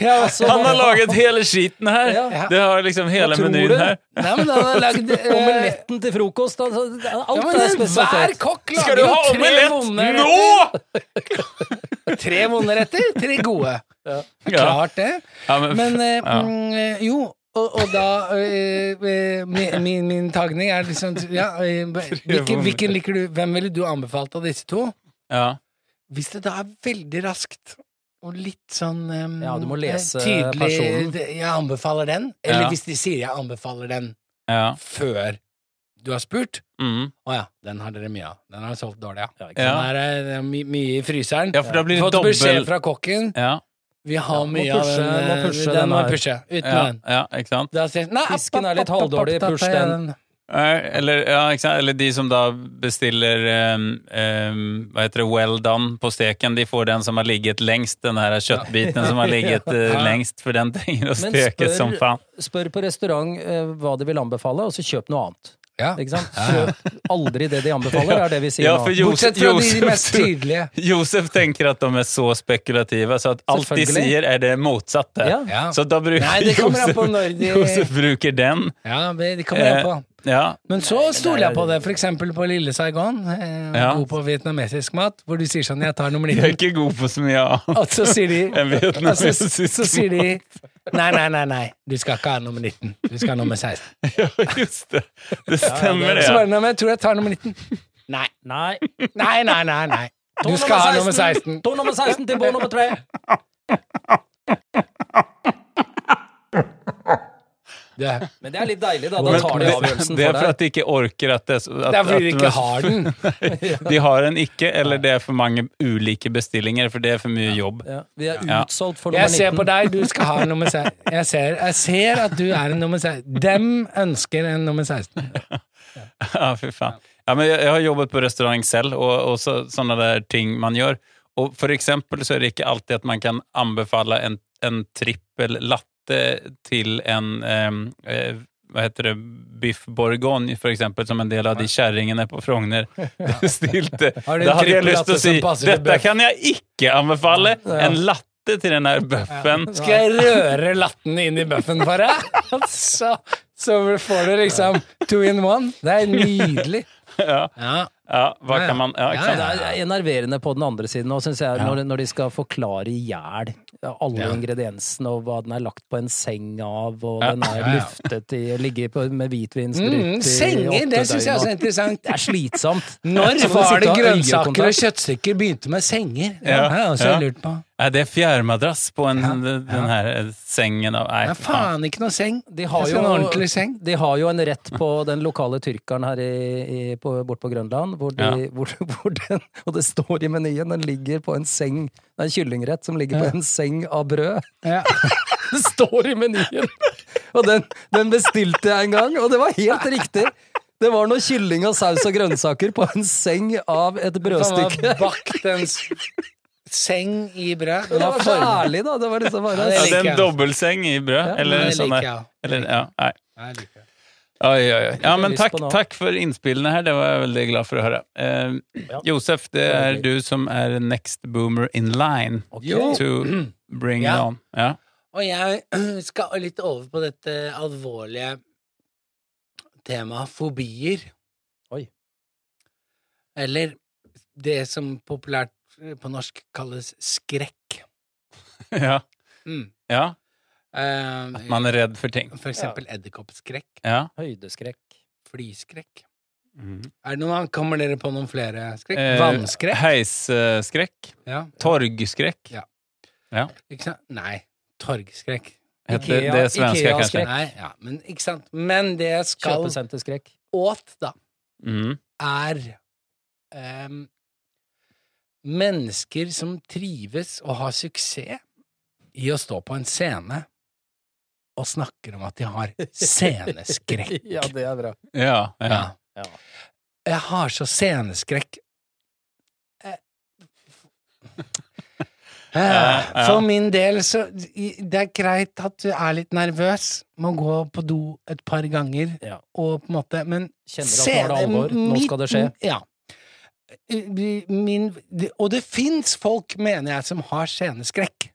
S1: Ja,
S3: Altså,
S2: han har
S3: hva-
S2: laget hele skiten her!
S3: Ja.
S2: Det har liksom hele
S3: tror
S2: menyen
S3: du?
S2: her.
S1: Nei, men han har lagd eh,
S3: Omeletten til frokost, altså,
S1: ja,
S3: alt
S1: men
S3: er
S1: Hver
S3: spesielt.
S1: kokk lager
S2: Skal du
S1: jo
S2: ha
S1: tre vonde
S2: omelett nå?!
S1: retter. Tre vonde retter, tre gode.
S2: Ja.
S1: Klart det.
S2: Ja, men,
S1: Men eh,
S2: ja.
S1: mm, eh, jo, og, og da eh, eh, mi- min, min tagning er liksom ja, eh, hvilken, hvilken liker du? Hvem ville du anbefalt av disse to?
S2: ja.
S1: Hvis det da er veldig raskt og litt sånn eh,
S3: Ja, du må lese
S1: eh, tydelig,
S3: personen.
S1: det- Jeg anbefaler den. Eller
S2: Ja.
S1: hvis de sier 'jeg anbefaler den'
S2: ja.
S1: før du har spurt.
S2: Mm.
S1: Å ja, den har dere mye av. Den har solgt dårlig, ja.
S3: Ja, ikke sant?
S2: Ja.
S1: Den er, eh, det er my mye i fryseren.
S2: ja, for da blir det
S1: Fått beskjed
S2: dobbelt
S1: fra kokken.
S2: Ja,
S1: Vi har
S3: Ja, må
S1: mye av
S3: pushe-
S1: den. eh,
S3: må pushe
S1: den,
S3: den
S1: må
S3: her.
S1: pushe. Uten
S2: ja,
S1: den.
S2: ja, ikke sant?
S1: Da sier nei,
S3: Fisken er
S1: app, app,
S3: litt
S1: app,
S3: halvdårlig,
S1: app, app,
S3: push
S1: da tar jeg
S3: den.
S2: Eh, Eller, ja, ikke sant? Eller de som da bestiller ehm, ehm, Hva heter det? Well done på steken. De får den som har ligget lengst, den her kjøttbiten som har ligget eh,
S1: Ja.
S2: lengst, for den trenger å
S3: Men
S2: stekes
S3: spør-
S2: som faen.
S3: Spør på restaurant eh, hva de vil anbefale, og så kjøp noe annet.
S1: Ja.
S3: Ikke sant? Kjøp aldri det de anbefaler, er det vi sier
S2: Ja, for
S3: nå.
S2: Josef-
S1: Bortsett fra de
S2: Josef-
S1: mest tydelige.
S2: Josef tenker at de er så spekulative, så at alt de
S3: Selvfølgelig.
S2: sier, er det motsatte.
S3: Ja.
S1: Ja.
S2: Så da bruker
S1: Nei, det kommer an på når de
S2: Josef bruker den. Eh,
S1: Ja, det det
S3: Eh,
S1: kommer an på.
S2: Ja,
S1: Men så stoler jeg på det, for eksempel på Lille Saigon. Eh,
S2: Ja.
S1: God på vietnamesisk mat, hvor du sier sånn 'jeg tar nummer
S2: jeg er
S1: 19',
S2: ikke god på så mye annet.
S1: og så sier de
S2: enn
S1: og så,
S2: vietnamesisk
S1: så sier de Nei, nei, nei, nei, du skal ikke ha nummer 19. Du skal ha nummer 16.
S2: Ja, just det. Det stemmer, det.
S1: Så bare, nei, men jeg tror jeg tar nummer 19. Nei.
S3: Nei.
S1: Nei, nei, nei, nei. Du skal ha nummer 16.
S3: To nummer 16 til bånd nummer 3.
S1: Det,
S3: Men det er litt deilig, da. Da
S2: Men
S3: tar de avgjørelsen
S2: det er
S3: for
S2: for at
S3: deg.
S2: de ikke orker at det at,
S1: det er
S2: at
S1: fordi du ikke har den.
S2: De har en ikke, eller det er for mange ulike bestillinger, for det er for mye jobb.
S3: Ja, vi er
S2: Ja.
S3: utsolgt for
S1: Jeg ser på
S3: nummer
S1: deg,
S3: 19.
S1: du skal ha en nummer 16. Jeg ser, jeg ser at du er en nummer 16. Dem ønsker en nummer 16.
S2: Ja, fy faen. Ja, men jeg, jeg har jobbet på restaurang selv, og, og så, sånne der ting man gjør. Og for eksempel så er det ikke alltid at man kan anbefale en, en trippel latte til en ehm, eh, hva heter det, biff bourgogne, for eksempel, som en del av de kjerringene på Frogner bestilte.
S1: Har du en
S2: Da hadde jeg
S1: trippel
S2: lyst
S1: latte
S2: til å si
S1: som passer til
S2: dette
S1: bøff?»
S2: kan jeg ikke anbefale! En latte til den her bøffen.
S1: Skal jeg røre latten inn i bøffen for deg? Så, så får du liksom two in one. Det er nydelig.
S2: Ja,
S1: Ja.
S2: ja, hva
S1: Ja, ja.
S2: kan man ja,
S1: Ja,
S2: ikke
S1: ja.
S2: sant?
S3: Det er enerverende på den andre siden òg, syns jeg, når, når de skal forklare i hjel alle
S1: Ja.
S3: ingrediensene, og hva den er lagt på en seng av, og
S2: Ja.
S3: den er
S1: Ja, ja.
S3: luftet i, ligger på, med hvitvinsgryte
S1: Mm,
S3: i
S1: senger,
S3: åtte
S1: det syns jeg
S3: døgn, og-
S1: også er interessant.
S3: Det er slitsomt.
S1: Når
S3: Så må du
S1: var
S3: sitte
S1: det
S3: og ha
S1: grønnsaker og
S3: øyekontakt.
S1: kjøttstykker begynte med senger? Ja,
S2: Ja,
S1: det har jeg også
S2: ja.
S1: lurt på.
S2: Ja, det er fjærmadrass på en, den her eh, sengen av Nei,
S1: Det er faen ikke noe seng.
S3: De har,
S1: Jeg
S3: jo,
S1: skal ha en ordentlig seng.
S3: de har jo en rett på den lokale tyrkeren her i, i, på, bort på Grønland, hvor, de,
S2: Ja.
S3: hvor, hvor den Og det står i menyen, den ligger på en seng Det er en kyllingrett som ligger på en seng av brød.
S1: Ja.
S3: Det står i menyen! Og den, den bestilte jeg en gang, og det var helt riktig! Det var noe kylling og saus og grønnsaker på en seng av et brødstykke.
S1: Han har bakt en s- seng i brød.
S3: Det
S1: Den
S3: var
S1: var
S3: så
S1: formet.
S3: ærlig, da. Det var liksom bare
S1: Ja,
S2: Ja, det
S1: liker
S2: er
S1: jeg. altså.
S2: en dobbeltseng i brød. eller
S1: det
S2: en sånn
S1: liker
S2: der.
S1: jeg.
S2: Eller, ja, nei.
S1: Nei, jeg liker det.
S2: Oi, oi, oi. Ja, men
S3: lyst
S2: takk,
S3: på noe.
S2: takk for innspillene her. Det var jeg veldig glad for å høre. Eh, Josef, det er du som er next boomer in line
S1: Jo.
S2: to bring
S1: Ja.
S2: it on. Ja.
S1: Og jeg skal litt over på dette alvorlige temaet fobier.
S3: Oi.
S1: Eller det som populært eh, på norsk kalles skrekk.
S2: ja.
S1: Mm.
S2: ja.
S1: Eh,
S2: At man er redd for ting.
S1: For eksempel edderkoppskrekk.
S2: Ja.
S3: Høydeskrekk.
S1: Flyskrekk.
S2: Mm.
S1: Er det noen, kommer dere på noen flere skrekk?
S2: Eh,
S1: Vannskrekk?
S2: Heisskrekk.
S1: Ja.
S2: Torgskrekk.
S1: Ikke sant? Nei. Torgskrekk.
S2: Heter det svenske, kanskje?
S3: Ikea-skrekk.
S1: Nei, ja, men ikke sant. Men det jeg skal
S3: Kjøpesenterskrekk.
S1: åt, da,
S2: Mm.
S1: er em, mennesker som trives og har suksess i å stå på en scene og snakker om at de har sceneskrekk.
S3: Ja, det er bra.
S2: Ja, ja.
S1: Ja.
S3: Ja.
S1: Jeg har så sceneskrekk. Eh, Eh,
S2: ja.
S1: For min del så i- Det er greit at du er litt nervøs, må gå på do et par ganger,
S3: Ja.
S1: og på en måte Men
S3: Kjenner at nå er det alvor. Nå skal det skje.
S1: mitt- Ja. Eh, Min, det- og det fins folk, mener jeg, som har sceneskrekk.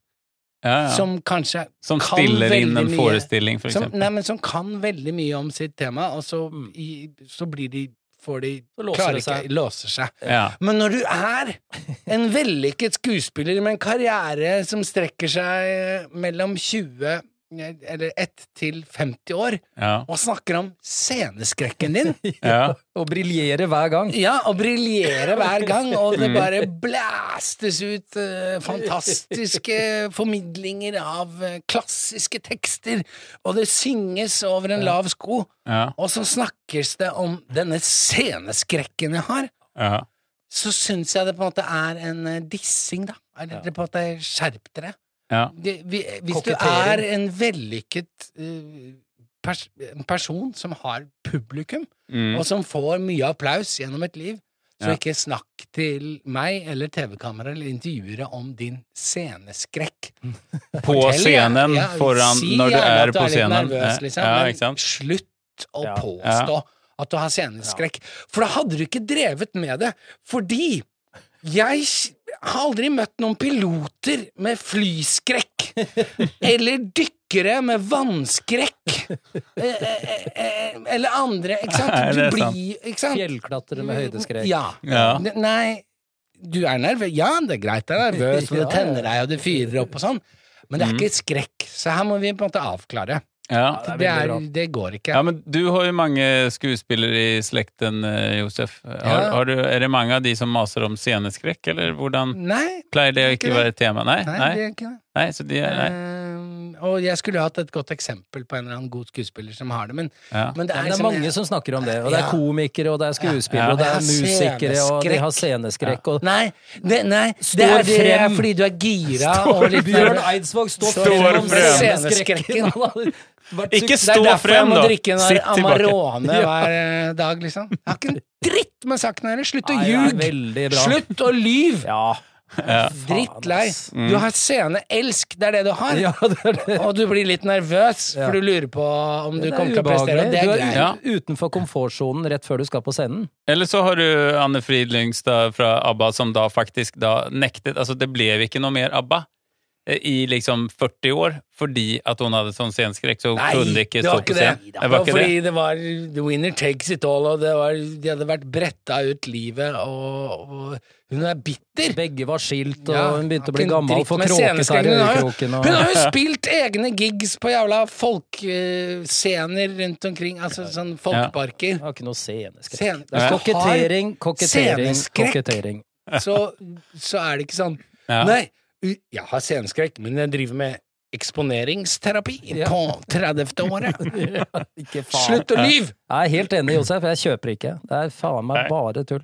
S2: ja, ja. Som,
S1: Som kanskje kan
S2: stiller inn
S1: veldig
S2: en
S1: mye.
S2: forestilling, for
S1: som,
S2: eksempel. Mm.
S1: nei, men som kan veldig mye om sitt tema, og så, i, så blir de Får de
S3: Så låser
S1: klarer
S3: det seg.
S1: ikke Låser seg.
S2: ja.
S1: Men når du er en vellykket skuespiller med en karriere som strekker seg eh, mellom 20 eller 1 til 50 år,
S2: Ja.
S1: og snakker om sceneskrekken din
S2: ja.
S3: Og briljere hver gang.
S1: Ja, og briljere hver gang, og det bare blæstes ut eh, fantastiske formidlinger av eh, klassiske tekster, og det synges over en lav sko,
S2: Ja.
S1: og så snakkes det om denne sceneskrekken jeg har,
S2: ja.
S1: så syns jeg det på en måte er en eh, dissing, da. Eller det på en måte skjerp dere.
S2: ja.
S1: Det, vi, hvis du
S3: Kokettering.
S1: er en vellykket eh, pers en person som har publikum,
S2: Mm.
S1: og som får mye applaus gjennom et liv, så
S2: Ja.
S1: ikke snakk til meg eller TV-kameraet eller intervjuere om din sceneskrekk.
S2: På
S1: Fortell,
S2: scenen,
S1: ja,
S2: foran
S1: si
S2: Når du
S1: gjerne at
S2: er på
S1: litt
S2: scenen.
S1: Nervøs, liksom,
S2: ja,
S1: men
S2: ikke sant?
S1: slutt å
S3: Ja.
S1: påstå at du har sceneskrekk. For da hadde du ikke drevet med det. Fordi jeg s- har aldri møtt noen piloter med flyskrekk. Eller dykkere med vannskrekk. Eh, eh, eh, Eller andre, ikke
S2: Nei,
S1: sant?
S2: det er
S1: Du
S2: sant.
S1: blir, ikke sant?
S3: Fjellklatre med høydeskrekk.
S1: Ja.
S2: Ja.
S1: Ne- Nei, du er nervøs. Ja, det er greit, du er nervøs, og
S3: Ja,
S1: det
S3: ja.
S1: tenner deg, og det fyrer opp og sånn. Men det er
S2: Mm.
S1: ikke skrekk, så her må vi på en måte avklare.
S2: Ja.
S3: det er
S1: Det,
S3: veldig
S1: er,
S3: bra.
S1: det går ikke.
S2: Ja, men du har jo mange skuespillere i slekten, eh, Josef. Har,
S1: Ja.
S2: har du, er det mange av de som maser om sceneskrekk, eller hvordan
S1: Nei,
S2: pleier det å
S1: Mm. Ikke
S2: ikke være et tema?
S1: nei,
S2: Nei,
S1: det
S2: nei,
S1: er ikke det.
S2: nei, så de er, nei.
S1: Ehm, og jeg skulle hatt et godt eksempel på en eller annen god skuespiller som har det, men,
S2: Ja.
S1: men det
S3: Ja,
S1: er,
S3: men det er
S1: liksom-
S3: mange som snakker om det, og det er
S1: Ja.
S3: komikere, og det er skuespillere,
S2: Ja.
S3: og det
S1: Ja,
S3: er musikere, og de har sceneskrekk, og
S1: Nei, det, nei, det
S3: Står
S1: er, det er
S3: frem.
S1: fordi du er gira og litt
S3: Bjørn Eidsvåg står
S1: Står
S3: frem om
S2: frem.
S3: sceneskrekken! Han hadde vært
S2: Ikke
S3: suks-
S1: Det er derfor
S2: Stå
S1: jeg
S2: frem,
S1: må
S2: da.
S1: drikke en
S2: Sitt tilbake.
S1: Amarone hver eh, dag, liksom. Jeg har ikke en dritt med saken å gjøre. Slutt å
S3: Nei, det er
S1: ljuge!
S3: veldig bra.
S1: Slutt å lyve!
S3: Ja.
S1: Drittlei.
S3: ass.
S1: Du har sceneelsk, det er det du har.
S3: ja, det er det.
S1: Og du blir litt nervøs,
S3: Ja.
S1: for du lurer på om du
S3: Det er
S1: kommer til å prestere.
S3: ubehagelig.
S1: og Det er greit.
S2: Ja.
S3: Du er u- utenfor komfortsonen rett før du skal på scenen.
S2: Eller så har du Anne Frid Lyngstad fra ABBA som da faktisk da nektet Altså, det ble ikke noe mer ABBA eh, i liksom 40 år fordi at hun hadde sånn sceneskrekk, så hun kunne ikke
S1: det
S2: stå
S1: var
S2: på
S1: ikke det.
S2: scenen.
S1: Det var fordi det var The winner takes it all, og det var, de hadde vært bretta ut livet, og, og hun er bitter.
S3: Begge var skilt, og
S1: Ja,
S3: hun begynte å
S1: har
S3: bli
S1: ikke en
S3: gammel
S1: dritt
S3: for
S1: med
S3: kråkekar
S1: sceneskrekk.
S3: i
S1: Hun har jo-
S3: øyekroken.
S1: Hun
S3: Og...
S1: har jo spilt egne gigs på jævla folkscener rundt omkring, altså sånn
S3: Jeg
S1: folkeparker.
S3: har ikke noe sceneskrekk.
S1: Scen-
S3: Det er
S1: Hvis du har
S3: kokettering, kokettering,
S1: sceneskrekk.
S3: kokettering.
S1: så, så er det ikke sånn
S2: Ja.
S1: Nei, u- jeg har sceneskrekk, men jeg driver med eksponeringsterapi
S3: Ja.
S1: på 30. året.
S3: Ikke faen.
S1: Slutt å lyve!
S3: Jeg er helt enig, Josef. Jeg kjøper ikke. Det er faen meg bare tull.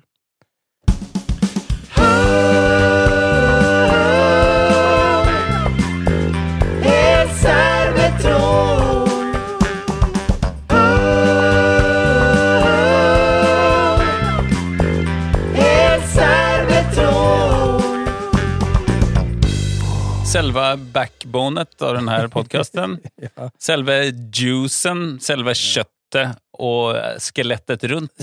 S2: Selve backbonet av denne podkasten, selve juicen, selve kjøttet og skjelettet rundt,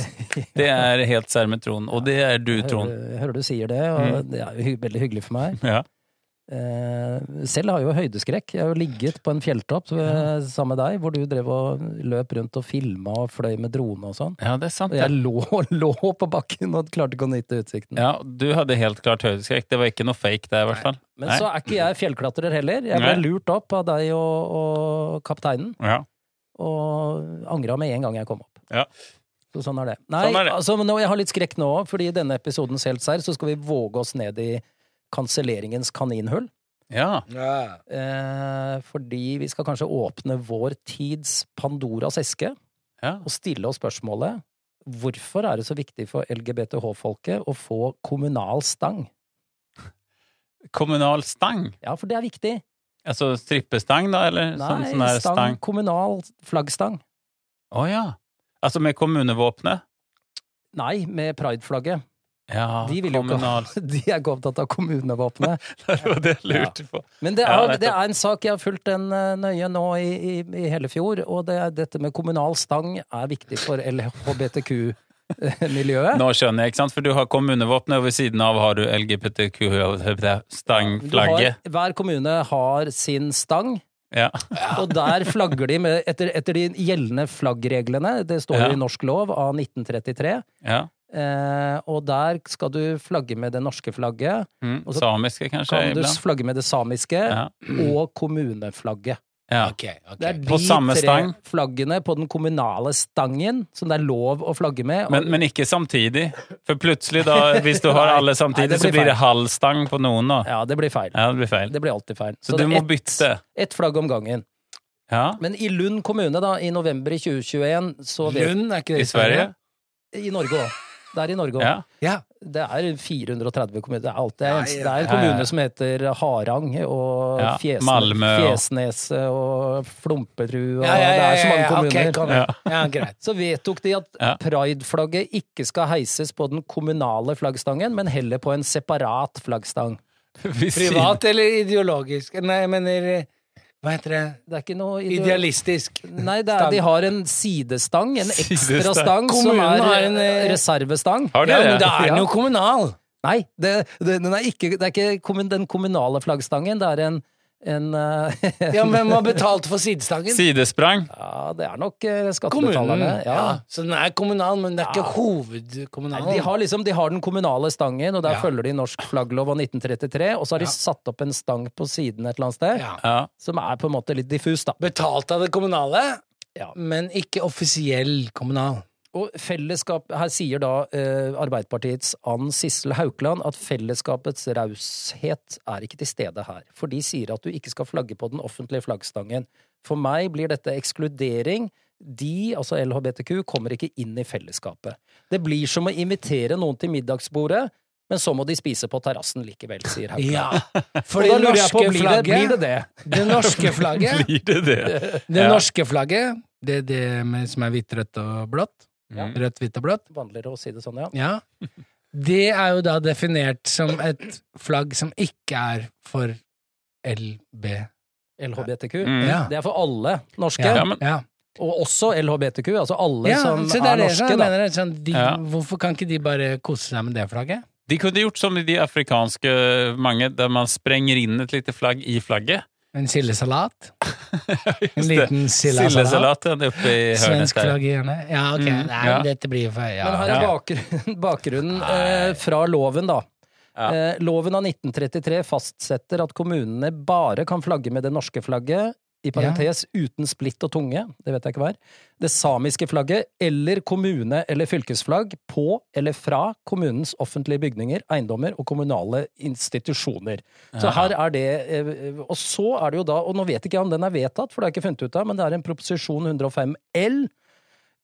S2: det er helt Sermetron, og det er du,
S3: Jeg
S2: Trond.
S3: hører, jeg hører du sier det, og
S2: Mm.
S3: det er jo hy veldig hyggelig for meg.
S2: Ja.
S3: Eh, selv har jeg jo høydeskrekk. Jeg har jo ligget på en fjelltopp eh, sammen med deg, hvor du drev og løp rundt og filma og fløy med drone og sånn.
S2: ja, det er sant.
S3: Og
S2: det.
S3: jeg lå, lå på bakken og klarte ikke å nyte utsikten.
S2: Ja, du hadde helt klart høydeskrekk. Det var ikke noe fake der, i hvert fall.
S3: Men
S2: Nei.
S3: så er ikke jeg fjellklatrer heller. Jeg ble
S2: Nei.
S3: lurt opp av deg og, og kapteinen,
S2: Ja.
S3: og angra med en gang jeg kom opp.
S2: Ja.
S3: Så sånn er det. Nei,
S2: Sånn er det.
S3: altså nå, jeg har litt skrekk nå òg, fordi i denne episodens Helt serr så skal vi våge oss ned i kanselleringens kaninhull.
S2: ja.
S3: Eh, fordi vi skal kanskje åpne vår tids Pandoras eske
S2: Ja.
S3: og stille oss spørsmålet Hvorfor er det så viktig for LGBTH-folket å få kommunal stang?
S2: Kommunal stang?
S3: Ja, for det er viktig.
S2: Altså strippestang, da? Eller sånn, sånn
S3: Nei,
S2: her
S3: stang,
S2: stang?
S3: kommunal flaggstang.
S2: Å ja. Altså med kommunevåpenet?
S3: Nei, med prideflagget.
S2: Ja,
S3: De vil jo ikke ha-
S2: kommunal
S3: De er ikke opptatt av kommunevåpenet.
S2: Det var det jeg lurte på.
S3: Men det
S2: Ja,
S3: er,
S2: nettopp.
S3: det er en sak jeg har fulgt den eh, nøye nå i, i, i hele fjor, og det er, dette med kommunal stang er viktig for LHBTQ-miljøet.
S2: Nå skjønner jeg, ikke sant? For du har kommunevåpenet, og ved siden av har du LGBTQ-stangflagget.
S3: Hver kommune har sin stang.
S2: Ja.
S3: Og der flagger de med, etter, etter de gjeldende flaggreglene, det står jo
S2: Ja.
S3: i norsk lov av 1933,
S2: ja.
S3: eh, og der skal du flagge med det norske flagget,
S2: Mm.
S3: Og så
S2: Samiske, kanskje,
S3: kan du
S2: iblant.
S3: flagge med det samiske,
S2: Ja.
S3: og kommuneflagget.
S2: Ja.
S1: Ok, ok.
S3: Det er de
S2: På samme
S3: tre
S2: stang?
S3: flaggene på den kommunale stangen som det er lov å flagge med.
S2: Men, men ikke samtidig. For plutselig, da, hvis du har alle
S3: Nei,
S2: samtidig,
S3: det blir
S2: så blir det
S3: feil.
S2: halv stang på noen. Da.
S3: Ja, det blir feil.
S2: Ja, det blir feil.
S3: Det blir alltid feil.
S2: Så du må
S3: det er ett-
S2: bytte.
S3: Ett flagg om gangen.
S2: Ja.
S3: Men i Lund kommune, da, i november i 2021, så vet
S1: Lund, er ikke det
S2: I Sverige?
S3: I Norge òg. Det er i Norge òg.
S2: Ja.
S1: Ja.
S3: Det er 430 kommuner. Det er, alt. Det er, en,
S1: Nei,
S3: det er en
S2: ja, ja.
S3: kommune som heter Harang og
S2: Ja,
S3: Fjesne,
S2: Malmö og-
S3: Fjesneset og Flomperud og
S1: Ja, ja, ja,
S3: Det er så
S1: ja,
S3: mange
S1: ja, ok,
S3: kommuner.
S1: kom igjen.
S2: Ja.
S1: Ja, greit.
S3: så vedtok de at
S2: Ja.
S3: prideflagget ikke skal heises på den kommunale flaggstangen, men heller på en separat flaggstang.
S2: Ved siden-
S1: Privat eller ideologisk? Nei, jeg mener eh, Hva heter det?
S3: Det er ikke noe ideo-
S1: Idealistisk.
S3: Nei, det er,
S1: stang.
S3: de har en sidestang, en ekstra
S2: Sidestang.
S3: stang, som
S1: Kommunen
S3: er
S1: har en,
S3: eh,
S1: eh,
S3: reservestang.
S2: Har
S1: Ja,
S2: dere
S1: men da er den
S3: Ja.
S1: jo kommunal!
S3: Nei, det, det, den er ikke, det er ikke kommun, den kommunale flaggstangen, det er en, en eh,
S1: Ja, men Hvem har betalt for sidestangen?
S2: sidesprang?
S3: Ja, det er nok eh,
S1: Kommunen.
S3: skattebetalerne.
S1: Ja.
S3: Ja.
S1: Så den er kommunal, men det er ikke hovedkommunal.
S3: Nei, De har liksom, de har den kommunale stangen, og der
S1: Ja.
S3: følger de norsk flagglov av 1933. Og så har de satt opp en stang på siden et eller annet sted,
S1: ja.
S2: Ja.
S3: som er på en måte litt diffus, da.
S1: Betalt av det kommunale,
S3: Ja.
S1: men ikke offisiell kommunal.
S3: Og fellesskap, her sier da eh, Arbeiderpartiets Ann Sissel Haukland at fellesskapets raushet er ikke til stede her. For de sier at du ikke skal flagge på den offentlige flaggstangen. For meg blir dette ekskludering. De, altså LHBTQ, kommer ikke inn i fellesskapet. Det blir som å invitere noen til middagsbordet, men så må de spise på terrassen likevel, sier Haukland.
S1: Ja,
S3: Og
S1: for
S3: da
S1: det
S3: lurer jeg på,
S1: norske
S3: blir det, blir det
S1: flagget
S3: det?
S1: Det norske flagget,
S2: Blir det det?
S1: det
S2: Ja.
S1: norske flagget, det er det med, som er hvitt, rødt og blått.
S2: Mm.
S1: Rødt, hvitt og blått.
S3: Vanligere å si det sånn, ja.
S1: Ja. Det er jo da definert som et flagg som ikke er for LB.
S3: LHBTQ.
S2: Mm.
S1: Ja.
S3: Det er for alle norske,
S1: Ja,
S2: Ja, men-
S1: ja.
S3: og også LHBTQ, altså alle
S1: ja
S3: som
S1: så det er
S3: er
S1: det
S3: norske,
S1: som jeg
S3: da.
S1: mener. Sånn, de,
S2: Ja.
S1: Hvorfor kan ikke de bare kose seg med det flagget?
S2: De kunne gjort som i de afrikanske mange, der man sprenger inn et lite flagg i flagget.
S1: En sildesalat? En
S2: Just det.
S1: liten sildesalat?
S2: Sillesalat oppe i hørnet
S1: Svensk
S2: der.
S1: flagg i hjørnet? Ja, ok.
S2: Mm,
S1: Nei,
S2: ja.
S1: dette blir jo for ja.
S3: Men her er bakgrunnen, bakgrunnen eh, fra loven, da.
S2: Ja.
S3: Eh, loven av 1933 fastsetter at kommunene bare kan flagge med det norske flagget, i parentes uten splitt og tunge, det vet jeg ikke hva er, det samiske flagget eller kommune- eller fylkesflagg på eller fra kommunens offentlige bygninger, eiendommer og kommunale institusjoner. Så her er det eh, Og så er det jo da, og nå vet ikke jeg om den er vedtatt, for det har jeg ikke funnet ut av, men det er en proposisjon 105 L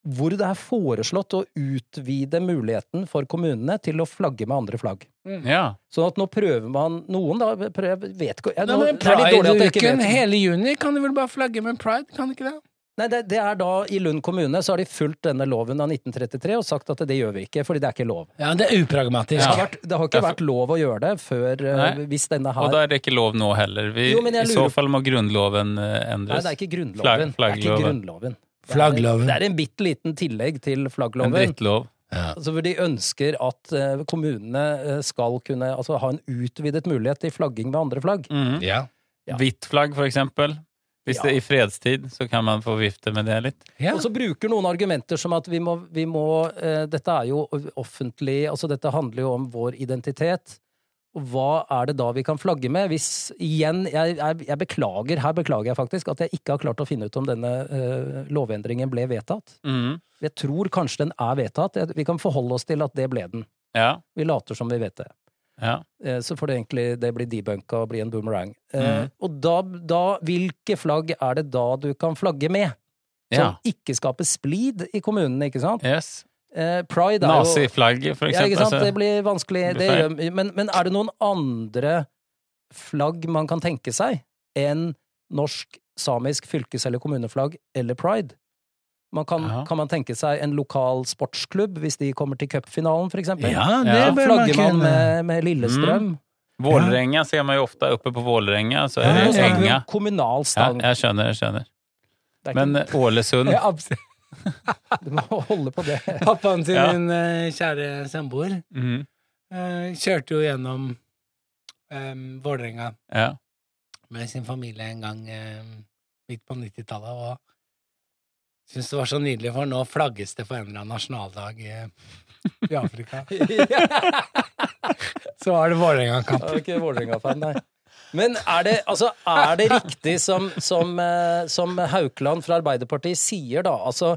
S3: hvor det er foreslått å utvide muligheten for kommunene til å flagge med andre flagg.
S2: Ja.
S3: Sånn at nå prøver man Noen, da, prøver, vet ikke jeg,
S1: Nei,
S3: nå,
S1: men
S3: Det er litt dårlig at jeg ikke
S1: Pride-uken
S3: vet.
S1: hele juni kan du vel bare flagge med pride, kan du ikke det?
S3: Nei, det, det er da i Lund kommune så har de fulgt denne loven av 1933 og sagt at det gjør vi ikke, fordi det er ikke lov.
S1: Ja, det er upragmatisk.
S3: Det har, vært, det har ikke vært lov å gjøre det før eh,
S2: Nei.
S3: hvis denne
S2: Og
S3: her
S2: da er det ikke lov nå heller. Vi,
S3: Jo, men jeg
S2: I så
S3: lurer-
S2: fall må grunnloven eh,
S3: Nei,
S2: endres.
S3: det er ikke
S2: Flagg-
S3: grunnloven. Det er ikke
S2: flaggloven.
S3: grunnloven. Det er-
S1: Flaggloven.
S3: Det er en bitte liten tillegg til
S2: en
S3: flaggloven.
S2: drittlov.
S3: Altså, hvor de ønsker at eh, kommunene eh, skal kunne altså, ha en utvidet mulighet til flagging med andre flagg.
S2: Mhm.
S1: Ja.
S3: Ja.
S2: Hvitt flagg, for eksempel. Hvis det er i fredstid, så kan man få vifte med det litt.
S1: Ja.
S3: Og så bruker noen argumenter som at vi må, vi må eh, Dette er jo offentlig altså Dette handler jo om vår identitet. Og hva er det da vi kan flagge med? Hvis igjen Jeg, jeg, jeg beklager, her beklager jeg faktisk, at jeg ikke har klart å finne ut om denne eh, lovendringen ble vedtatt.
S2: Mhm.
S3: Jeg tror kanskje den er vedtatt. Jeg- Vi kan forholde oss til at det ble den.
S2: Ja,
S3: Vi later som vi vet det.
S2: ja.
S3: Eh, Så får det egentlig det bli debunka og bli en boomerang. Eh,
S2: Mhm.
S3: Og da, da, hvilke flagg er det da du kan flagge med? Som
S2: Ja.
S3: ikke skaper splid i kommunene, ikke sant?
S2: Yes.
S3: eh, pride er jo
S2: Naziflagg, for
S3: ja,
S2: eksempel.
S3: ikke sant?
S2: altså.
S3: Det blir vanskelig.
S2: det
S3: Det
S2: blir
S3: gjør, men, men er det noen andre flagg man kan tenke seg enn norsk, samisk, fylkes- eller kommuneflagg eller pride? Man kan,
S2: Ja.
S3: kan man tenke seg en lokal sportsklubb hvis de kommer til cupfinalen, for eksempel?
S2: det Ja,
S3: Da flagger man med, med Lillestrøm.
S2: Mm. Vålerenga ser man ju ofta uppe på Vålerenga, så
S3: Ja,
S2: är
S3: nå
S2: det
S3: snakker vi om
S2: Enga.
S3: Kommunal
S2: Ja,
S3: stang.
S2: jag känner, jag känner.
S3: Det er
S2: Men
S3: ikke-
S2: eh, Ålesund,
S3: Ja, abs- Du må holde på det.
S1: Pappaen til
S2: Ja.
S1: min eh, kjære samboer
S2: mm,
S1: eh, kjørte jo gjennom um, Vålerenga
S2: ja.
S1: med sin familie en gang eh, midt på 90-tallet, og syntes det var så nydelig, for nå flagges det for en eller annen nasjonaldag eh, i Afrika. Så var det Vålerenga-kamp.
S3: Jeg er ikke Vålerenga-fan, nei. Men er det, altså, er det riktig som, som, eh, som Haukeland fra Arbeiderpartiet sier, da? Altså